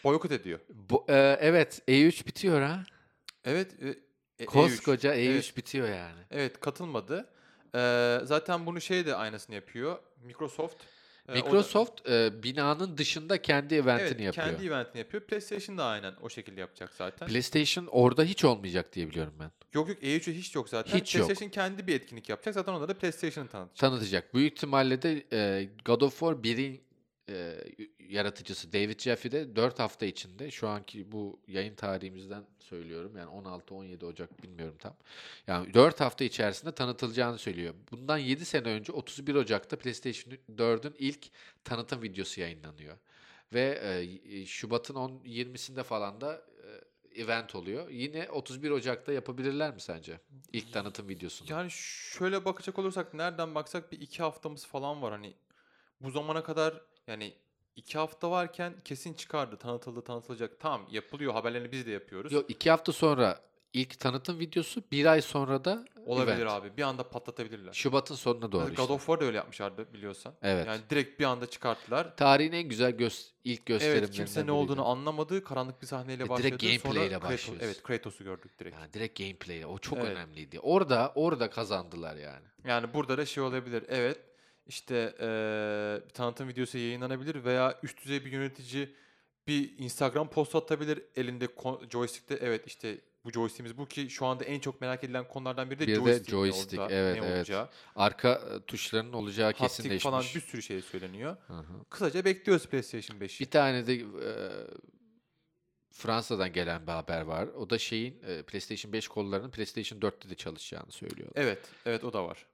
Speaker 1: Boykot ediyor.
Speaker 2: Bu, e, evet, E3 bitiyor ha.
Speaker 1: Evet. e, e, E3.
Speaker 2: Koskoca E3,
Speaker 1: Evet.
Speaker 2: bitiyor yani.
Speaker 1: Evet katılmadı. Ee, zaten bunu şey de aynısını yapıyor. Microsoft. e, o da-
Speaker 2: Microsoft e, binanın dışında kendi eventini
Speaker 1: evet,
Speaker 2: yapıyor.
Speaker 1: kendi eventini yapıyor. PlayStation da aynen o şekilde yapacak zaten.
Speaker 2: PlayStation orada hiç olmayacak diye biliyorum ben.
Speaker 1: yok yok E3'e hiç yok zaten.
Speaker 2: Hiç yok.
Speaker 1: PlayStation kendi bir etkinlik yapacak. Zaten onlara da PlayStation'ı tanıtacak.
Speaker 2: Tanıtacak. Büyük ihtimalle de e, God of War 1'in e, yaratıcısı David Jaffe de 4 hafta içinde şu anki bu yayın tarihimizden söylüyorum. Yani 16-17 Ocak bilmiyorum tam. Yani 4 hafta içerisinde tanıtılacağını söylüyor. Bundan 7 sene önce 31 Ocak'ta PlayStation 4'ün ilk tanıtım videosu yayınlanıyor. Ve e, e, Şubat'ın 10 20'sinde falan da e, event oluyor. Yine 31 Ocak'ta yapabilirler mi sence? İlk tanıtım videosunu.
Speaker 1: Yani şöyle bakacak olursak nereden baksak bir iki haftamız falan var. Hani bu zamana kadar yani iki hafta varken kesin çıkardı. Tanıtıldı tanıtılacak. Tamam yapılıyor haberlerini biz de yapıyoruz.
Speaker 2: Yok iki hafta sonra ilk tanıtım videosu bir ay sonra da
Speaker 1: Olabilir
Speaker 2: event.
Speaker 1: abi. Bir anda patlatabilirler.
Speaker 2: Şubat'ın sonuna doğru
Speaker 1: Mesela
Speaker 2: işte.
Speaker 1: God of War da öyle yapmışlardı biliyorsan.
Speaker 2: Evet.
Speaker 1: Yani direkt bir anda çıkarttılar.
Speaker 2: Tarihin en güzel göz, ilk gösterimlerinden
Speaker 1: Evet kimse ne
Speaker 2: biriydi.
Speaker 1: olduğunu anlamadığı karanlık bir sahneyle
Speaker 2: E, direkt
Speaker 1: başladı.
Speaker 2: gameplay ile
Speaker 1: Kratos-
Speaker 2: başlıyorsun.
Speaker 1: Evet Kratos'u gördük direkt. Yani.
Speaker 2: Yani direkt gameplay. O çok
Speaker 1: Evet.
Speaker 2: önemliydi. Orada orada kazandılar yani.
Speaker 1: burada da şey olabilir. Evet işte eee, bir tanıtım videosu yayınlanabilir veya üst düzey bir yönetici bir Instagram post atabilir. Elinde ko- joystick'te evet işte bu joystick'imiz bu ki şu anda en çok merak edilen konulardan biri de
Speaker 2: Bir de
Speaker 1: joystick. ne
Speaker 2: joystick,
Speaker 1: olacağı,
Speaker 2: evet,
Speaker 1: ne
Speaker 2: evet.
Speaker 1: olacağı.
Speaker 2: Arka e, tuşlarının olacağı
Speaker 1: Haptik
Speaker 2: kesinleşmiş.
Speaker 1: falan bir sürü şey söyleniyor.
Speaker 2: Hı hı.
Speaker 1: Kısaca bekliyoruz PlayStation 5'i.
Speaker 2: Bir tane de e, Fransa'dan gelen bir haber var. O da şeyin e, PlayStation 5 kollarının PlayStation 4'te de çalışacağını söylüyor.
Speaker 1: Evet, evet o da var.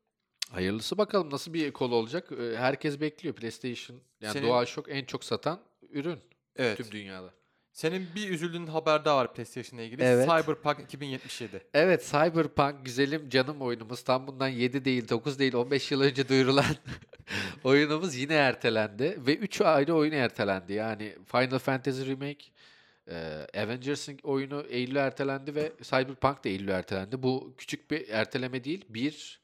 Speaker 2: Hayırlısı bakalım nasıl bir kol olacak. Ee, Herkes bekliyor PlayStation. Yani
Speaker 1: Senin-
Speaker 2: DualShock en çok satan ürün
Speaker 1: Evet.
Speaker 2: tüm dünyada.
Speaker 1: Senin bir üzüldüğün haber daha var PlayStation'la ilgili.
Speaker 2: Evet.
Speaker 1: Cyberpunk 2077.
Speaker 2: Evet Cyberpunk güzelim canım oyunumuz tam bundan 7 değil 9 değil 15 yıl önce duyurulan (laughs) oyunumuz yine ertelendi ve 3 ayrı oyun ertelendi. Yani Final Fantasy Remake, e, Avengers'ın oyunu Eylül'e ertelendi ve Cyberpunk da Eylül'e ertelendi. Bu küçük bir erteleme değil. 1,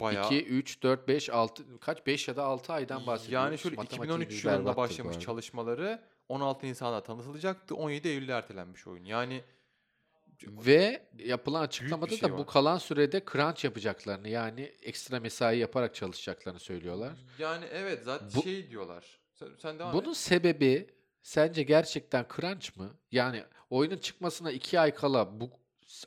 Speaker 1: Bayağı.
Speaker 2: 2, 3, 4, 5, 6 kaç 5 ya da 6 aydan bahsediyoruz.
Speaker 1: yani şöyle
Speaker 2: Matematiğimiz
Speaker 1: 2013
Speaker 2: berbattır
Speaker 1: yılında
Speaker 2: bu
Speaker 1: başlamış
Speaker 2: arada.
Speaker 1: çalışmaları 16 Nisan'da tanıtılacaktı. 17 Eylül'e ertelenmiş oyun. Yani
Speaker 2: Ve yapılan açıklamada
Speaker 1: şey
Speaker 2: da bu
Speaker 1: var.
Speaker 2: kalan sürede crunch yapacaklarını yani ekstra mesai yaparak çalışacaklarını söylüyorlar.
Speaker 1: yani evet zaten
Speaker 2: Bu-
Speaker 1: şey diyorlar. Sen, sen devam
Speaker 2: Bunun
Speaker 1: et.
Speaker 2: sebebi sence gerçekten crunch mı? Yani oyunun çıkmasına 2 ay kala bu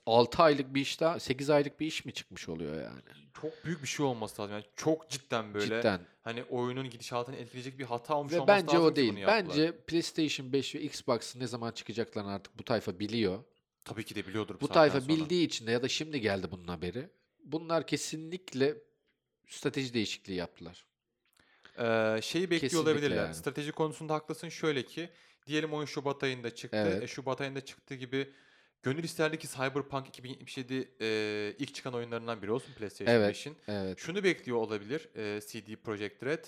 Speaker 2: 6 aylık bir iş daha 8 aylık bir iş mi çıkmış oluyor yani?
Speaker 1: Çok büyük bir şey olması lazım. Yani çok cidden böyle
Speaker 2: Cidden.
Speaker 1: hani oyunun gidişatını etkileyecek bir hata olmuş
Speaker 2: Ve
Speaker 1: olması
Speaker 2: bence
Speaker 1: lazım
Speaker 2: o
Speaker 1: ki
Speaker 2: değil.
Speaker 1: bunu yaptılar.
Speaker 2: Bence PlayStation 5 ve Xbox'ın ne zaman çıkacaklarını artık bu tayfa biliyor.
Speaker 1: Tabii ki de biliyordur bu
Speaker 2: Bu
Speaker 1: saatten
Speaker 2: tayfa
Speaker 1: sonra.
Speaker 2: bildiği için de ya da şimdi geldi bunun haberi. Bunlar kesinlikle strateji değişikliği yaptılar.
Speaker 1: Ee, şeyi bekliyor
Speaker 2: Kesinlikle
Speaker 1: olabilirler.
Speaker 2: yani.
Speaker 1: Strateji konusunda haklısın. Şöyle ki diyelim oyun Şubat ayında çıktı.
Speaker 2: Evet.
Speaker 1: E, Şubat ayında çıktığı gibi gönül isterdi ki Cyberpunk 2077 e, ilk çıkan oyunlarından biri olsun PlayStation
Speaker 2: Evet.
Speaker 1: 5'in.
Speaker 2: Evet.
Speaker 1: Şunu bekliyor olabilir e, CD Projekt Red.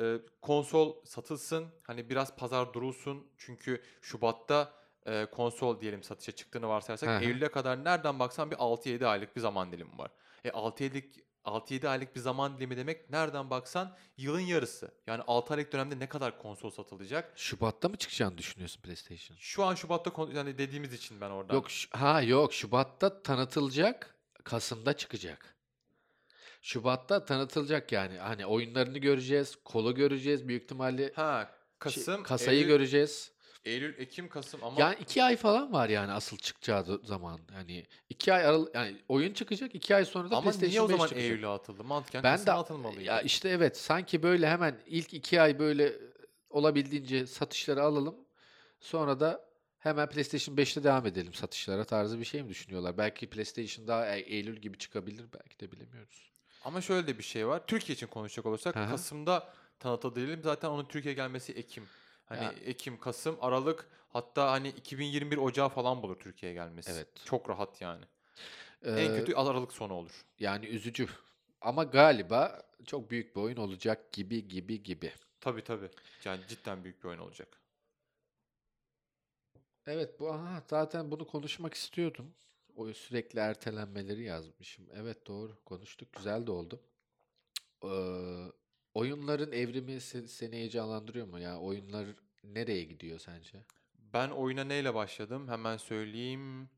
Speaker 1: E, konsol satılsın. Hani biraz pazar durulsun. Çünkü Şubat'ta e, konsol diyelim satışa çıktığını varsayarsak
Speaker 2: Hı hı.
Speaker 1: Eylül'e kadar nereden baksan bir 6-7 aylık bir zaman dilimi var. E 6-7'lik 6-7 aylık bir zaman dilimi demek nereden baksan yılın yarısı. Yani 6 aylık dönemde ne kadar konsol satılacak?
Speaker 2: Şubat'ta mı çıkacağını düşünüyorsun PlayStation?
Speaker 1: Şu an Şubat'ta kon- yani dediğimiz için ben oradan.
Speaker 2: Yok ş- ha yok Şubat'ta tanıtılacak, Kasım'da çıkacak. Şubat'ta tanıtılacak yani. Hani oyunlarını göreceğiz, kolu göreceğiz büyük ihtimalle. şey-
Speaker 1: Ha Kasım,
Speaker 2: kasayı
Speaker 1: Eylül,
Speaker 2: göreceğiz.
Speaker 1: Eylül, Ekim, Kasım ama
Speaker 2: Yani iki ay falan var yani asıl çıkacağı do- zaman. Hani iki ay aralı yani oyun çıkacak iki ay sonra da
Speaker 1: ama
Speaker 2: PlayStation
Speaker 1: niye o
Speaker 2: 5
Speaker 1: zaman
Speaker 2: çıkacak.
Speaker 1: Eylül'e atıldı? Mantıken
Speaker 2: Ben
Speaker 1: Kasım'a
Speaker 2: de
Speaker 1: atılmalıydı.
Speaker 2: ya işte evet sanki böyle hemen ilk iki ay böyle e, olabildiğince satışları alalım. Sonra da hemen PlayStation 5'te devam edelim satışlara tarzı bir şey mi düşünüyorlar? Belki PlayStation daha E- Eylül gibi çıkabilir belki de bilemiyoruz.
Speaker 1: Ama şöyle de bir şey var. Türkiye için konuşacak olursak
Speaker 2: Hı hı.
Speaker 1: Kasım'da tanıta değilim. Zaten onun Türkiye gelmesi Ekim. Hani
Speaker 2: Ya.
Speaker 1: Ekim, Kasım, Aralık hatta hani 2021 Ocağı falan bulur Türkiye'ye gelmesi.
Speaker 2: Evet.
Speaker 1: Çok rahat yani.
Speaker 2: Ee,
Speaker 1: En kötü Aralık sonu olur.
Speaker 2: yani üzücü ama galiba çok büyük bir oyun olacak gibi gibi gibi.
Speaker 1: Tabii tabii. Yani cidden büyük bir oyun olacak.
Speaker 2: Evet bu aha, zaten bunu konuşmak istiyordum. O sürekli ertelenmeleri yazmışım. Evet doğru konuştuk güzel de oldu. Ee, oyunların evrimi se- seni heyecanlandırıyor mu ya? Oyunlar nereye gidiyor sence?
Speaker 1: Ben oyuna neyle başladım? Hemen söyleyeyim.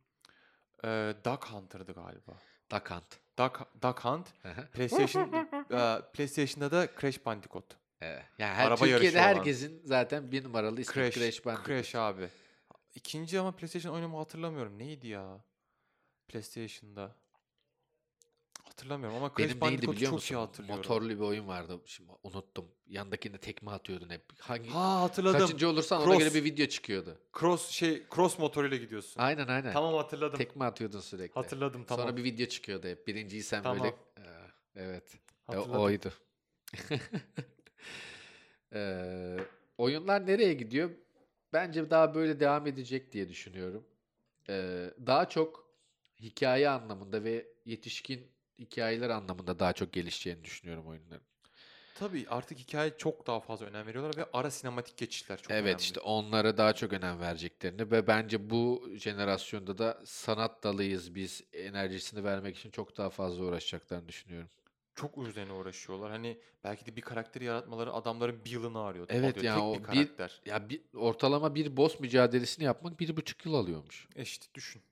Speaker 1: Ee, Duck Hunter'dı galiba.
Speaker 2: Dakant.
Speaker 1: Duck, Duck Hunt. PlayStation,
Speaker 2: (laughs)
Speaker 1: e, PlayStation'da da Crash Bandicoot.
Speaker 2: Evet. Yani Ee, her,
Speaker 1: Araba yarışı
Speaker 2: Türkiye'de
Speaker 1: olan.
Speaker 2: herkesin zaten bir numaralı ismi
Speaker 1: Crash,
Speaker 2: Crash,
Speaker 1: Crash,
Speaker 2: Bandicoot.
Speaker 1: abi. İkinci ama PlayStation oyunumu hatırlamıyorum. Neydi ya? PlayStation'da. Hatırlamıyorum ama Crash
Speaker 2: Benim neydi
Speaker 1: Bandicoot'u
Speaker 2: biliyor
Speaker 1: çok iyi
Speaker 2: musun?
Speaker 1: hatırlıyorum.
Speaker 2: Motorlu bir oyun vardı. Şimdi unuttum. Yandakine tekme atıyordun hep. Hangi
Speaker 1: Ha hatırladım.
Speaker 2: kaçıncı olursan ona
Speaker 1: Cross.
Speaker 2: göre bir video çıkıyordu.
Speaker 1: Cross şey cross motoruyla gidiyorsun.
Speaker 2: Aynen aynen.
Speaker 1: Tamam hatırladım.
Speaker 2: Tekme atıyordun sürekli.
Speaker 1: Hatırladım tamam.
Speaker 2: Sonra bir video çıkıyordu hep. Birinciyi sen
Speaker 1: Tamam.
Speaker 2: böyle... Ee, Evet. E,
Speaker 1: hatırladım.
Speaker 2: oydu. (laughs) Ee, oyunlar nereye gidiyor? Bence daha böyle devam edecek diye düşünüyorum. Ee, daha çok hikaye anlamında ve yetişkin hikayeler anlamında daha çok gelişeceğini düşünüyorum oyunların.
Speaker 1: Tabii artık hikaye çok daha fazla önem veriyorlar ve ara sinematik geçişler çok
Speaker 2: evet
Speaker 1: önemli.
Speaker 2: işte onlara daha çok önem vereceklerini ve bence bu jenerasyonda da sanat dalıyız biz enerjisini vermek için çok daha fazla uğraşacaklarını düşünüyorum.
Speaker 1: Çok üzerine uğraşıyorlar. Hani belki de bir karakteri yaratmaları adamların bir yılını arıyor.
Speaker 2: Evet
Speaker 1: alıyor.
Speaker 2: ya,
Speaker 1: Tek
Speaker 2: o
Speaker 1: bir
Speaker 2: bir-
Speaker 1: karakter.
Speaker 2: Ya bir, ortalama bir boss mücadelesini yapmak bir buçuk yıl alıyormuş.
Speaker 1: E işte düşün.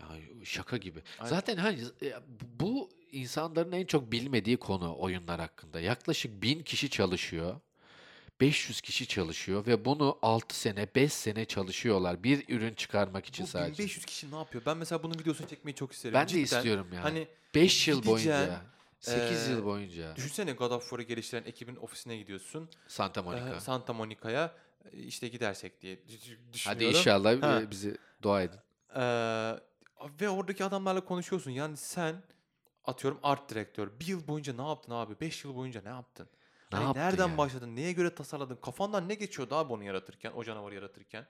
Speaker 2: Ya şaka gibi.
Speaker 1: Aynen.
Speaker 2: Zaten hani e, bu insanların en çok bilmediği konu oyunlar hakkında. Yaklaşık 1000 kişi çalışıyor. 500 kişi çalışıyor ve bunu 6 sene, 5 sene çalışıyorlar bir ürün çıkarmak için
Speaker 1: Bu
Speaker 2: sadece.
Speaker 1: 1500 kişi ne yapıyor? Ben mesela bunun videosunu çekmeyi çok isterim.
Speaker 2: ben de
Speaker 1: Cidden.
Speaker 2: istiyorum yani.
Speaker 1: Hani e,
Speaker 2: 5 yıl boyunca,
Speaker 1: gideceksin,
Speaker 2: 8
Speaker 1: eee,
Speaker 2: yıl boyunca
Speaker 1: düşünsene God of War'ı geliştiren ekibin ofisine gidiyorsun.
Speaker 2: Santa
Speaker 1: Ee,
Speaker 2: Monica.
Speaker 1: Santa Monica'ya e, işte gidersek diye dü- dü-
Speaker 2: Hadi
Speaker 1: düşünüyorum.
Speaker 2: inşallah
Speaker 1: Ha.
Speaker 2: e, bizi dua edin.
Speaker 1: Ee, ve oradaki adamlarla konuşuyorsun. Yani sen atıyorum art direktör. Bir yıl boyunca ne yaptın abi? Beş yıl boyunca ne yaptın?
Speaker 2: Ne
Speaker 1: Hani
Speaker 2: yaptın
Speaker 1: nereden
Speaker 2: ya?
Speaker 1: başladın? Neye göre tasarladın? Kafandan ne geçiyordu abi onu yaratırken? O canavarı yaratırken?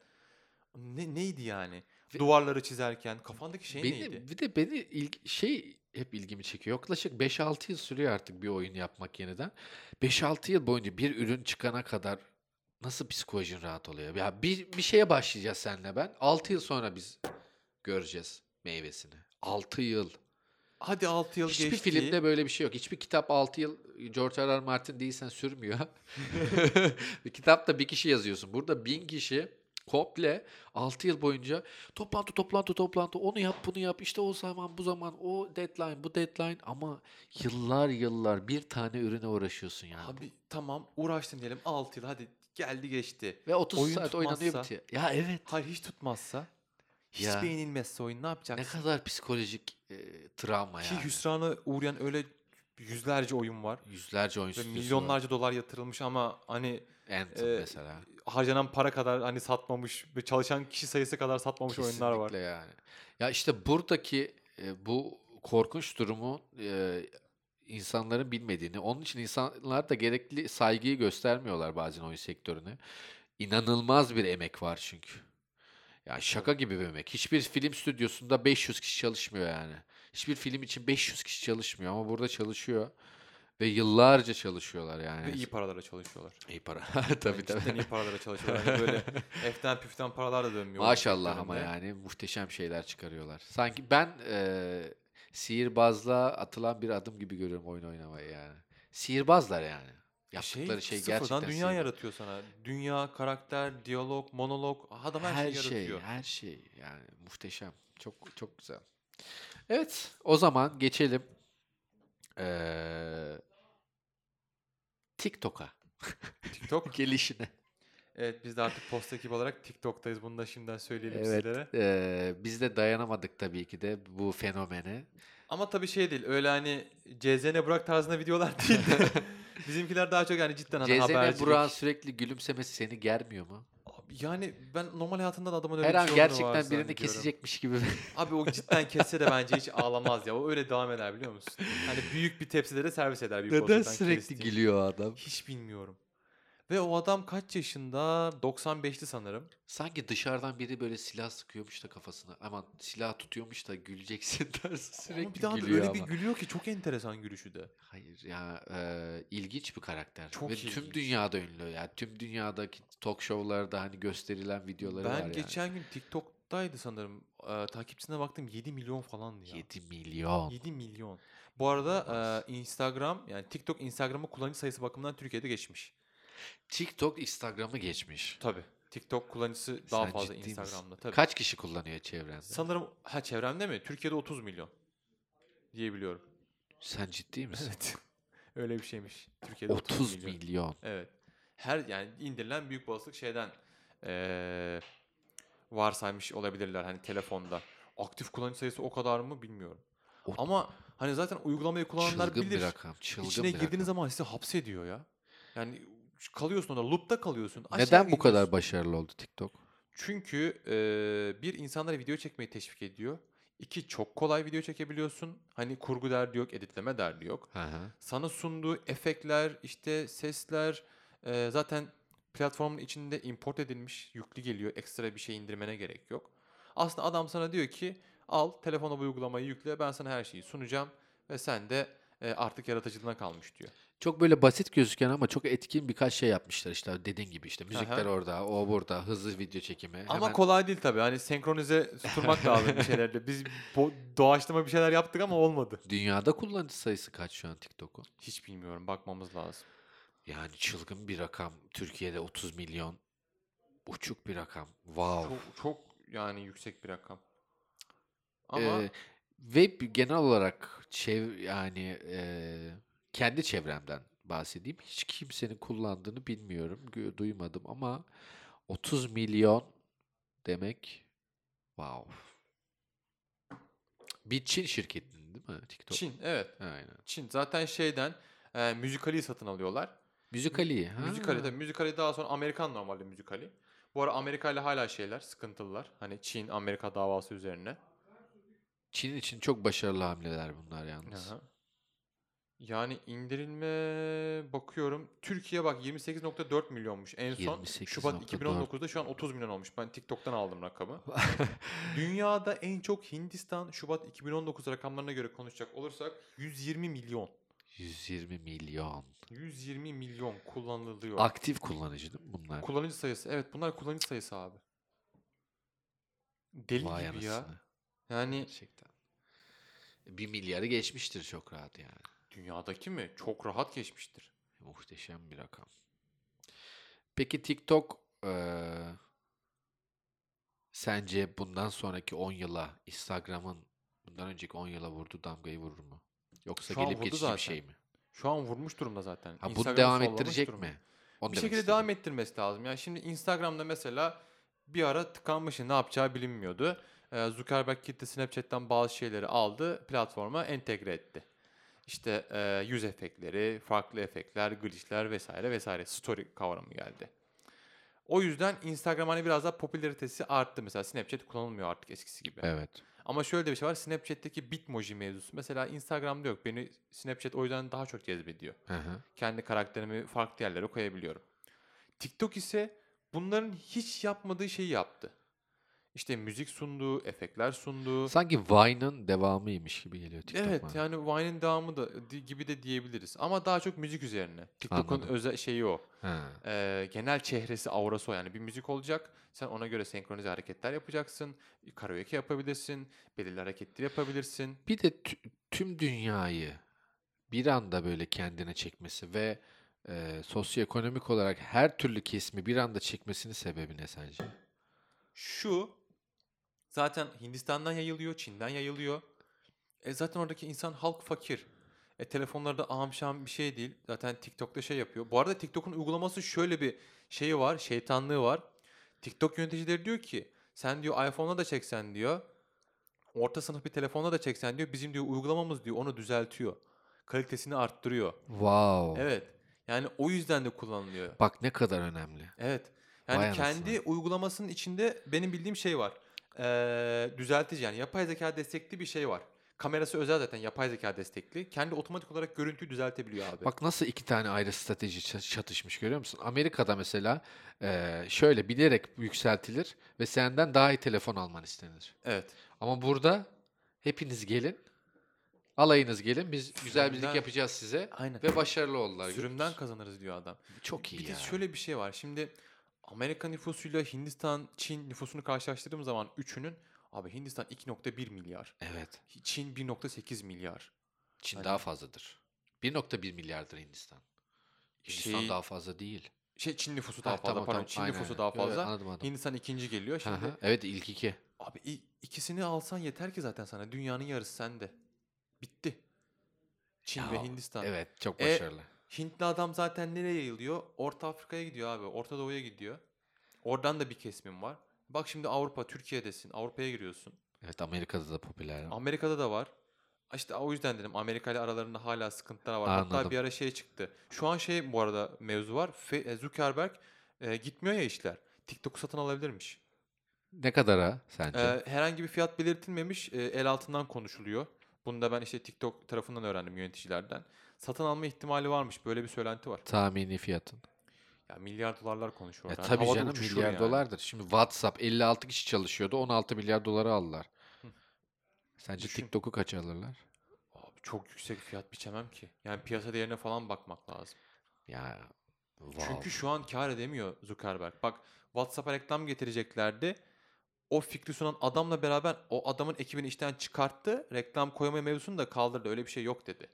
Speaker 1: Ne, neydi yani?
Speaker 2: Ve-
Speaker 1: Duvarları çizerken kafandaki şey
Speaker 2: Beni-
Speaker 1: neydi?
Speaker 2: Bir de beni ilg- şey hep ilgimi çekiyor. Yaklaşık 5-6 yıl sürüyor artık bir oyun yapmak yeniden. 5-6 yıl boyunca bir ürün çıkana kadar nasıl psikolojin rahat oluyor? Ya bir, bir şeye başlayacağız senle ben. 6 yıl sonra biz göreceğiz meyvesini. 6 yıl.
Speaker 1: Hadi 6 yıl
Speaker 2: Hiçbir
Speaker 1: geçti.
Speaker 2: filmde böyle bir şey yok. Hiçbir kitap 6 yıl George R. R. Martin değilsen sürmüyor. (laughs) Bir Kitapta bir kişi yazıyorsun. Burada bin kişi komple 6 yıl boyunca toplantı toplantı toplantı onu yap bunu yap işte o zaman bu zaman o deadline bu deadline ama yıllar yıllar bir tane ürüne uğraşıyorsun yani.
Speaker 1: Abi tamam uğraştın diyelim 6 yıl hadi geldi geçti.
Speaker 2: Ve 30
Speaker 1: oyun
Speaker 2: saat oynanıyor
Speaker 1: tutmazsa-
Speaker 2: bitiyor. Ya evet.
Speaker 1: Hayır hiç tutmazsa, hiç
Speaker 2: Ya.
Speaker 1: beğenilmezse oyun ne
Speaker 2: Ne
Speaker 1: yapacaksın?
Speaker 2: kadar psikolojik e, travma
Speaker 1: Ki
Speaker 2: yani.
Speaker 1: hüsrana uğrayan öyle yüzlerce oyun var.
Speaker 2: Yüzlerce oyun
Speaker 1: Ve
Speaker 2: stüdyosu var.
Speaker 1: milyonlarca dolar yatırılmış ama hani
Speaker 2: Anthem
Speaker 1: e,
Speaker 2: mesela.
Speaker 1: harcanan para kadar hani satmamış ve çalışan kişi sayısı kadar satmamış oyunlar var.
Speaker 2: Kesinlikle yani. Ya işte buradaki e, bu korkunç durumu e, insanların bilmediğini, onun için insanlar da gerekli saygıyı göstermiyorlar bazen oyun sektörüne. İnanılmaz bir emek var çünkü. Ya şaka gibi bir emek. Hiçbir film stüdyosunda 500 kişi çalışmıyor yani. Hiçbir film için 500 kişi çalışmıyor ama burada çalışıyor ve yıllarca çalışıyorlar yani.
Speaker 1: Ve iyi paralara çalışıyorlar.
Speaker 2: İyi para. (laughs)
Speaker 1: Yani
Speaker 2: tabii
Speaker 1: Cidden
Speaker 2: tabii.
Speaker 1: iyi paralara çalışıyorlar. Hani böyle
Speaker 2: (laughs)
Speaker 1: eften püften paralar da dönmüyor. oyun
Speaker 2: Maşallah ama
Speaker 1: sektöründe.
Speaker 2: yani muhteşem şeyler çıkarıyorlar. Sanki ben e, sihirbazlığa atılan bir adım gibi görüyorum oyun oynamayı yani. Sihirbazlar yani. Yaptıkları şey, gerçekten
Speaker 1: Sıfırdan dünya
Speaker 2: sihir-
Speaker 1: yaratıyor sana. Dünya, karakter, diyalog, monolog. Adam her,
Speaker 2: Her
Speaker 1: şeyi
Speaker 2: şey,
Speaker 1: yaratıyor.
Speaker 2: her şey yani muhteşem. Çok çok güzel. Evet, o zaman geçelim e, eee TikTok'a (laughs)
Speaker 1: TikTok.
Speaker 2: gelişine.
Speaker 1: Evet biz de artık post ekibi olarak TikTok'tayız. Bunu da şimdiden söyleyelim
Speaker 2: Evet.
Speaker 1: sizlere.
Speaker 2: Eee, E, biz de dayanamadık tabii ki de bu fenomene.
Speaker 1: Ama tabii şey değil. Öyle hani CZN Burak tarzında videolar değil. de
Speaker 2: (laughs)
Speaker 1: Bizimkiler daha çok yani cidden hani
Speaker 2: CZN
Speaker 1: habercilik.
Speaker 2: Burak'ın sürekli gülümsemesi seni germiyor mu?
Speaker 1: Abi Yani ben normal hayatımda da adamın öyle
Speaker 2: Her
Speaker 1: bir
Speaker 2: an
Speaker 1: şey olduğunu
Speaker 2: gerçekten birini
Speaker 1: varsayıyorum.
Speaker 2: kesecekmiş gibi.
Speaker 1: Abi o cidden kesse de bence hiç ağlamaz ya. O öyle devam eder biliyor musun? Hani büyük bir tepside de servis eder. Büyük
Speaker 2: Neden
Speaker 1: borsaktan
Speaker 2: sürekli
Speaker 1: kestiği.
Speaker 2: gülüyor adam?
Speaker 1: Hiç bilmiyorum. Ve o adam kaç yaşında? 95'ti sanırım.
Speaker 2: Sanki dışarıdan biri böyle silah sıkıyormuş da kafasına. Aman silah tutuyormuş da güleceksin (laughs) tarzı sürekli
Speaker 1: ama bir daha da
Speaker 2: gülüyor
Speaker 1: öyle
Speaker 2: ama.
Speaker 1: bir gülüyor ki çok enteresan gülüşü de.
Speaker 2: Hayır ya e, ilginç bir karakter.
Speaker 1: Çok
Speaker 2: Ve
Speaker 1: ilginç.
Speaker 2: tüm dünyada ünlü ya. Tüm dünyadaki talk show'larda hani gösterilen videoları var
Speaker 1: ben
Speaker 2: yani.
Speaker 1: geçen gün TikTok'taydı sanırım. Ee, takipçisine baktım 7 milyon falandı ya.
Speaker 2: 7 milyon.
Speaker 1: 7 milyon. Bu arada
Speaker 2: İnanılmaz.
Speaker 1: e, Instagram yani TikTok Instagram'ın kullanıcı sayısı bakımından Türkiye'de geçmiş.
Speaker 2: TikTok Instagram'ı geçmiş.
Speaker 1: Tabii. TikTok kullanıcısı daha
Speaker 2: Sen
Speaker 1: fazla
Speaker 2: ciddi misin?
Speaker 1: Instagram'da tabii.
Speaker 2: Kaç kişi kullanıyor çevrende?
Speaker 1: Sanırım ha çevremde mi? Türkiye'de 30 milyon. diyebiliyorum.
Speaker 2: Sen ciddi misin?
Speaker 1: Evet. (laughs) Öyle bir şeymiş. Türkiye'de
Speaker 2: 30, milyon.
Speaker 1: Evet. Her yani indirilen büyük olasılık şeyden eee, varsaymış olabilirler hani telefonda. Aktif kullanıcı sayısı o kadar mı bilmiyorum.
Speaker 2: O-
Speaker 1: Ama hani zaten uygulamayı kullananlar
Speaker 2: Çılgın
Speaker 1: bilir.
Speaker 2: bir rakam. Çılgın
Speaker 1: İçine
Speaker 2: bir
Speaker 1: girdiğiniz
Speaker 2: rakam.
Speaker 1: zaman sizi hapsediyor ya. Yani kalıyorsun orada loop'ta kalıyorsun. Aşağı
Speaker 2: Neden bu
Speaker 1: gidiyorsun.
Speaker 2: kadar başarılı oldu TikTok?
Speaker 1: Çünkü eee, bir insanlara video çekmeyi teşvik ediyor. İki çok kolay video çekebiliyorsun. Hani kurgu derdi yok, editleme derdi yok.
Speaker 2: Hı hı.
Speaker 1: Sana sunduğu efektler, işte sesler eee, zaten platformun içinde import edilmiş, yüklü geliyor. Ekstra bir şey indirmene gerek yok. Aslında adam sana diyor ki al telefona bu uygulamayı yükle ben sana her şeyi sunacağım ve sen de eee, artık yaratıcılığına kalmış diyor.
Speaker 2: Çok böyle basit gözüken ama çok etkin birkaç şey yapmışlar işte dediğin gibi işte müzikler
Speaker 1: hı.
Speaker 2: orada, o burada, hızlı video çekimi.
Speaker 1: Ama
Speaker 2: hemen-
Speaker 1: kolay değil tabii. Hani senkronize (laughs) tutturmak lazım bir şeylerle. Biz bo- doğaçlama bir şeyler yaptık ama olmadı.
Speaker 2: dünyada kullanıcı sayısı kaç şu an TikTok'un?
Speaker 1: Hiç bilmiyorum. Bakmamız lazım.
Speaker 2: Yani çılgın bir rakam. Türkiye'de 30 milyon. Uçuk bir rakam. Wow.
Speaker 1: Çok, çok yani yüksek bir rakam. Ama
Speaker 2: Ee, ve bir- genel olarak çev yani e, kendi çevremden bahsedeyim. Hiç kimsenin kullandığını bilmiyorum, gö- duymadım ama 30 milyon demek wow. Bir Çin şirketinin değil mi TikTok?
Speaker 1: Çin evet.
Speaker 2: Aynen.
Speaker 1: Çin zaten şeyden e, müzikali satın alıyorlar.
Speaker 2: Müzikali. ha.
Speaker 1: Müzikali tabii. Müzikali daha sonra Amerikan normalde müzikali. Bu ara Amerika ile hala şeyler sıkıntılılar. Hani Çin Amerika davası üzerine.
Speaker 2: Çin için çok başarılı hamleler bunlar yalnız.
Speaker 1: Aha. Yani indirilme bakıyorum. Türkiye bak 28.4 milyonmuş en son.
Speaker 2: 28.4.
Speaker 1: Şubat 2019'da şu an 30 milyon olmuş. Ben TikTok'tan aldım rakamı. Dünyada en çok Hindistan Şubat 2019 rakamlarına göre konuşacak olursak 120 milyon.
Speaker 2: 120 milyon.
Speaker 1: 120 milyon kullanılıyor.
Speaker 2: Aktif kullanıcı değil mi bunlar?
Speaker 1: kullanıcı sayısı. Evet bunlar kullanıcı sayısı abi. Deli
Speaker 2: Vay
Speaker 1: gibi ya.
Speaker 2: anasını.
Speaker 1: Yani
Speaker 2: Gerçekten. E, Bir milyarı geçmiştir çok rahat yani.
Speaker 1: dünyadaki mi? Çok rahat geçmiştir.
Speaker 2: Muhteşem bir rakam. Peki TikTok eee, sence bundan sonraki 10 yıla Instagram'ın bundan önceki 10 yıla vurduğu damgayı vurur mu? Yoksa
Speaker 1: Şu an
Speaker 2: gelip
Speaker 1: vurdu
Speaker 2: geçici
Speaker 1: zaten.
Speaker 2: bir şey mi?
Speaker 1: Şu an vurmuş durumda zaten.
Speaker 2: Ha, bunu
Speaker 1: Instagram'ı
Speaker 2: devam
Speaker 1: sollamış
Speaker 2: ettirecek
Speaker 1: durumda.
Speaker 2: mi? Onu
Speaker 1: bir
Speaker 2: demek
Speaker 1: şekilde
Speaker 2: istedim.
Speaker 1: devam ettirmesi lazım. Yani şimdi Instagram'da mesela bir ara tıkanmıştı. Ne yapacağı bilinmiyordu. Ee, Zuckerberg gitti Snapchat'ten bazı şeyleri aldı. Platforma entegre etti. İşte e, yüz efektleri, farklı efektler, glitchler vesaire vesaire. Story kavramı geldi. O yüzden Instagram hani biraz daha popülaritesi arttı. Mesela Snapchat kullanılmıyor artık eskisi gibi.
Speaker 2: Evet.
Speaker 1: Ama şöyle de bir şey var. Snapchat'teki bitmoji mevzusu. Mesela Instagram'da yok. Beni Snapchat o yüzden daha çok cezbediyor
Speaker 2: Hı hı.
Speaker 1: kendi karakterimi farklı yerlere koyabiliyorum. TikTok ise bunların hiç yapmadığı şeyi yaptı. İşte müzik sundu, efektler sundu.
Speaker 2: Sanki Vine'ın devamıymış gibi geliyor TikTok
Speaker 1: evet
Speaker 2: bana.
Speaker 1: yani Vine'in devamı da di- gibi de diyebiliriz. Ama daha çok müzik üzerine. TikTok'un
Speaker 2: Anladım.
Speaker 1: özel şeyi o.
Speaker 2: Ha.
Speaker 1: Ee, genel çehresi, aurası o. Yani bir müzik olacak. Sen ona göre senkronize hareketler yapacaksın. Karaoke yapabilirsin. Belirli hareketler yapabilirsin.
Speaker 2: Bir de tü- tüm dünyayı bir anda böyle kendine çekmesi ve e, sosyoekonomik olarak her türlü kesimi bir anda çekmesinin sebebi ne sence?
Speaker 1: Şu zaten Hindistan'dan yayılıyor, Çin'den yayılıyor. E zaten oradaki insan halk fakir. E telefonları da aham şaham bir şey değil. Zaten TikTok'ta şey yapıyor. Bu arada TikTok'un uygulaması şöyle bir şeyi var, şeytanlığı var. TikTok yöneticileri diyor ki sen diyor iPhone'la da çeksen diyor. Orta sınıf bir telefonla da çeksen diyor. Bizim diyor uygulamamız diyor onu düzeltiyor. Kalitesini arttırıyor.
Speaker 2: Wow.
Speaker 1: Evet. Yani o yüzden de kullanılıyor.
Speaker 2: Bak ne kadar önemli.
Speaker 1: Evet.
Speaker 2: Vay
Speaker 1: Yani
Speaker 2: anasını.
Speaker 1: kendi uygulamasının içinde benim bildiğim şey var. Ee, düzeltici yani yapay zeka destekli bir şey var. Kamerası özel zaten yapay zeka destekli. Kendi otomatik olarak görüntüyü düzeltebiliyor abi.
Speaker 2: Bak nasıl iki tane ayrı strateji ça- çatışmış görüyor musun? Amerika'da mesela e, şöyle bilerek yükseltilir ve senden daha iyi telefon alman istenir.
Speaker 1: Evet.
Speaker 2: Ama burada hepiniz gelin, alayınız gelin biz güzel bir müzik
Speaker 1: Sürümden-
Speaker 2: yapacağız size
Speaker 1: Aynen.
Speaker 2: ve başarılı oldular. görüyor
Speaker 1: Sürümden
Speaker 2: musun?
Speaker 1: kazanırız diyor adam.
Speaker 2: Çok iyi
Speaker 1: Bir de
Speaker 2: ya.
Speaker 1: şöyle bir şey var. Şimdi Amerika nüfusuyla Hindistan, Çin nüfusunu karşılaştırdığım zaman üçünün abi Hindistan 2.1 milyar.
Speaker 2: Evet.
Speaker 1: Çin 1.8 milyar.
Speaker 2: Çin
Speaker 1: Hani-
Speaker 2: daha fazladır. 1.1 milyardır Hindistan. Hindistan
Speaker 1: Şey-
Speaker 2: daha fazla değil.
Speaker 1: Şey Çin nüfusu daha
Speaker 2: Ha,
Speaker 1: fazla pardon. Çin
Speaker 2: aynen,
Speaker 1: nüfusu
Speaker 2: aynen.
Speaker 1: daha
Speaker 2: Yo, yo,
Speaker 1: fazla.
Speaker 2: anladım anladım.
Speaker 1: Hindistan ikinci geliyor
Speaker 2: Hı
Speaker 1: şimdi.
Speaker 2: hı. Evet ilk iki.
Speaker 1: Abi i- ikisini alsan yeter ki zaten sana. Dünyanın yarısı sende. Bitti. Çin
Speaker 2: Ya,
Speaker 1: ve Hindistan.
Speaker 2: Evet çok
Speaker 1: E,
Speaker 2: başarılı.
Speaker 1: Hintli adam zaten nereye yayılıyor? Orta Afrika'ya gidiyor abi. Orta Doğu'ya gidiyor. Oradan da bir kesimim var. Bak şimdi Avrupa, Türkiye'desin. Avrupa'ya giriyorsun.
Speaker 2: evet Amerika'da da popüler.
Speaker 1: Amerika'da da var. İşte o yüzden dedim Amerika ile aralarında hala sıkıntılar var.
Speaker 2: Anladım.
Speaker 1: Hatta bir ara şey çıktı. Şu an şey bu arada mevzu var. Fe- e, Zuckerberg e, gitmiyor ya işler. TikTok'u satın alabilirmiş.
Speaker 2: ne kadara sence?
Speaker 1: Ee, herhangi bir fiyat belirtilmemiş. e, el altından konuşuluyor. Bunu da ben işte TikTok tarafından öğrendim yöneticilerden. Satın alma ihtimali varmış. Böyle bir söylenti var.
Speaker 2: Tahmini fiyatın.
Speaker 1: Ya milyar dolarlar konuşuyor.
Speaker 2: E,
Speaker 1: orada. Yani
Speaker 2: tabii
Speaker 1: havada
Speaker 2: canım
Speaker 1: uçuşur
Speaker 2: milyar
Speaker 1: yani.
Speaker 2: dolardır. Şimdi WhatsApp 56 kişi çalışıyordu 16 milyar dolara aldılar.
Speaker 1: Hı.
Speaker 2: Sence
Speaker 1: Düşün.
Speaker 2: TikTok'u kaç alırlar?
Speaker 1: Abi çok yüksek fiyat biçemem ki. Yani piyasa değerine falan bakmak lazım.
Speaker 2: Ya wow.
Speaker 1: Çünkü şu an kar edemiyor Zuckerberg. Bak WhatsApp'a reklam getireceklerdi. O fikri sunan adamla beraber o adamın ekibini işten çıkarttı. Reklam koyma mevzusunu da kaldırdı. Öyle bir şey yok dedi.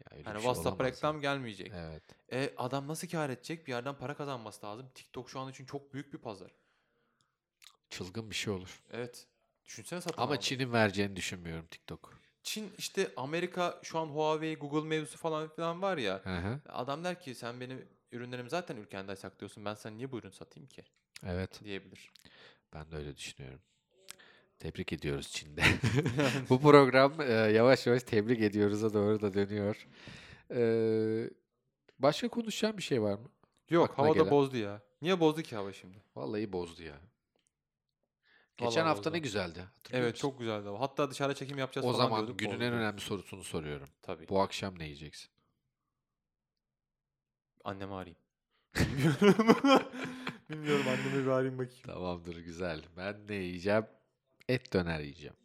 Speaker 2: Ya öyle bir
Speaker 1: Yani
Speaker 2: şey
Speaker 1: WhatsApp'a
Speaker 2: olamaz
Speaker 1: reklam
Speaker 2: ya.
Speaker 1: gelmeyecek.
Speaker 2: Evet.
Speaker 1: E, adam nasıl kar edecek? Bir yerden para kazanması lazım. TikTok şu an için çok büyük bir pazar.
Speaker 2: Çılgın bir şey olur.
Speaker 1: Evet. Düşünsene satın
Speaker 2: Ama
Speaker 1: almayı.
Speaker 2: Çin'in vereceğini düşünmüyorum TikTok.
Speaker 1: Çin işte Amerika şu an Huawei, Google mevzusu falan filan var ya.
Speaker 2: Hı hı.
Speaker 1: Adam der ki sen benim ürünlerimi zaten ülkende saklıyorsun. Ben sana niye bu ürün satayım ki?
Speaker 2: Evet.
Speaker 1: Diyebilir.
Speaker 2: Ben de öyle düşünüyorum. Tebrik ediyoruz
Speaker 1: (laughs)
Speaker 2: Çin'de. (laughs) Bu program e, yavaş yavaş tebrik ediyoruz'a doğru da dönüyor. E, başka konuşacağım bir şey var mı?
Speaker 1: Yok
Speaker 2: Aklına
Speaker 1: hava da
Speaker 2: gelen.
Speaker 1: bozdu ya. Niye bozdu ki hava şimdi?
Speaker 2: Vallahi bozdu ya. Geçen
Speaker 1: Vallahi
Speaker 2: hafta ne
Speaker 1: bozdu.
Speaker 2: güzeldi. hatırlıyor
Speaker 1: Evet
Speaker 2: musun?
Speaker 1: çok güzeldi hava. Hatta dışarı çekim yapacağız
Speaker 2: O
Speaker 1: falan
Speaker 2: zaman
Speaker 1: diyorduk,
Speaker 2: günün
Speaker 1: bozdu.
Speaker 2: en önemli sorusunu soruyorum.
Speaker 1: Tabii.
Speaker 2: Bu akşam ne yiyeceksin?
Speaker 1: Annemi
Speaker 2: (laughs)
Speaker 1: arayayım. Bilmiyorum. Bilmiyorum annemi bir arayayım bakayım.
Speaker 2: Tamamdır güzel. Ben ne yiyeceğim? Et döner yiyeceğim.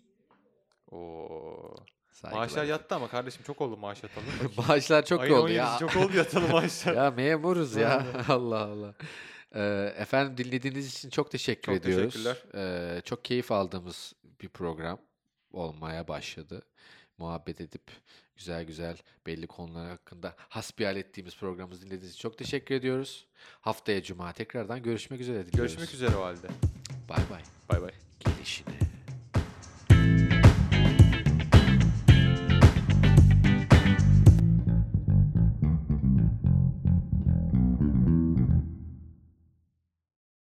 Speaker 1: Oo.
Speaker 2: Saygılar
Speaker 1: Maaşlar
Speaker 2: efendim.
Speaker 1: yattı ama kardeşim çok oldu maaş yatalım.
Speaker 2: (laughs) Maaşlar çok
Speaker 1: Ayın
Speaker 2: oldu ya.
Speaker 1: 17'si çok oldu yatalım
Speaker 2: (laughs)
Speaker 1: maaşlar.
Speaker 2: ya memuruz ya.
Speaker 1: Vallahi.
Speaker 2: (laughs) Allah Allah. Ee, efendim dinlediğiniz için çok teşekkür
Speaker 1: Çok
Speaker 2: ediyoruz.
Speaker 1: teşekkürler.
Speaker 2: Ee, çok keyif aldığımız bir program olmaya başladı. Muhabbet edip güzel güzel belli konular hakkında hasbihal ettiğimiz programımızı dinlediğiniz için çok teşekkür ediyoruz. Haftaya cuma tekrardan görüşmek üzere diliyoruz.
Speaker 1: Görüşmek üzere o halde.
Speaker 2: Bay bay.
Speaker 1: Bay bay.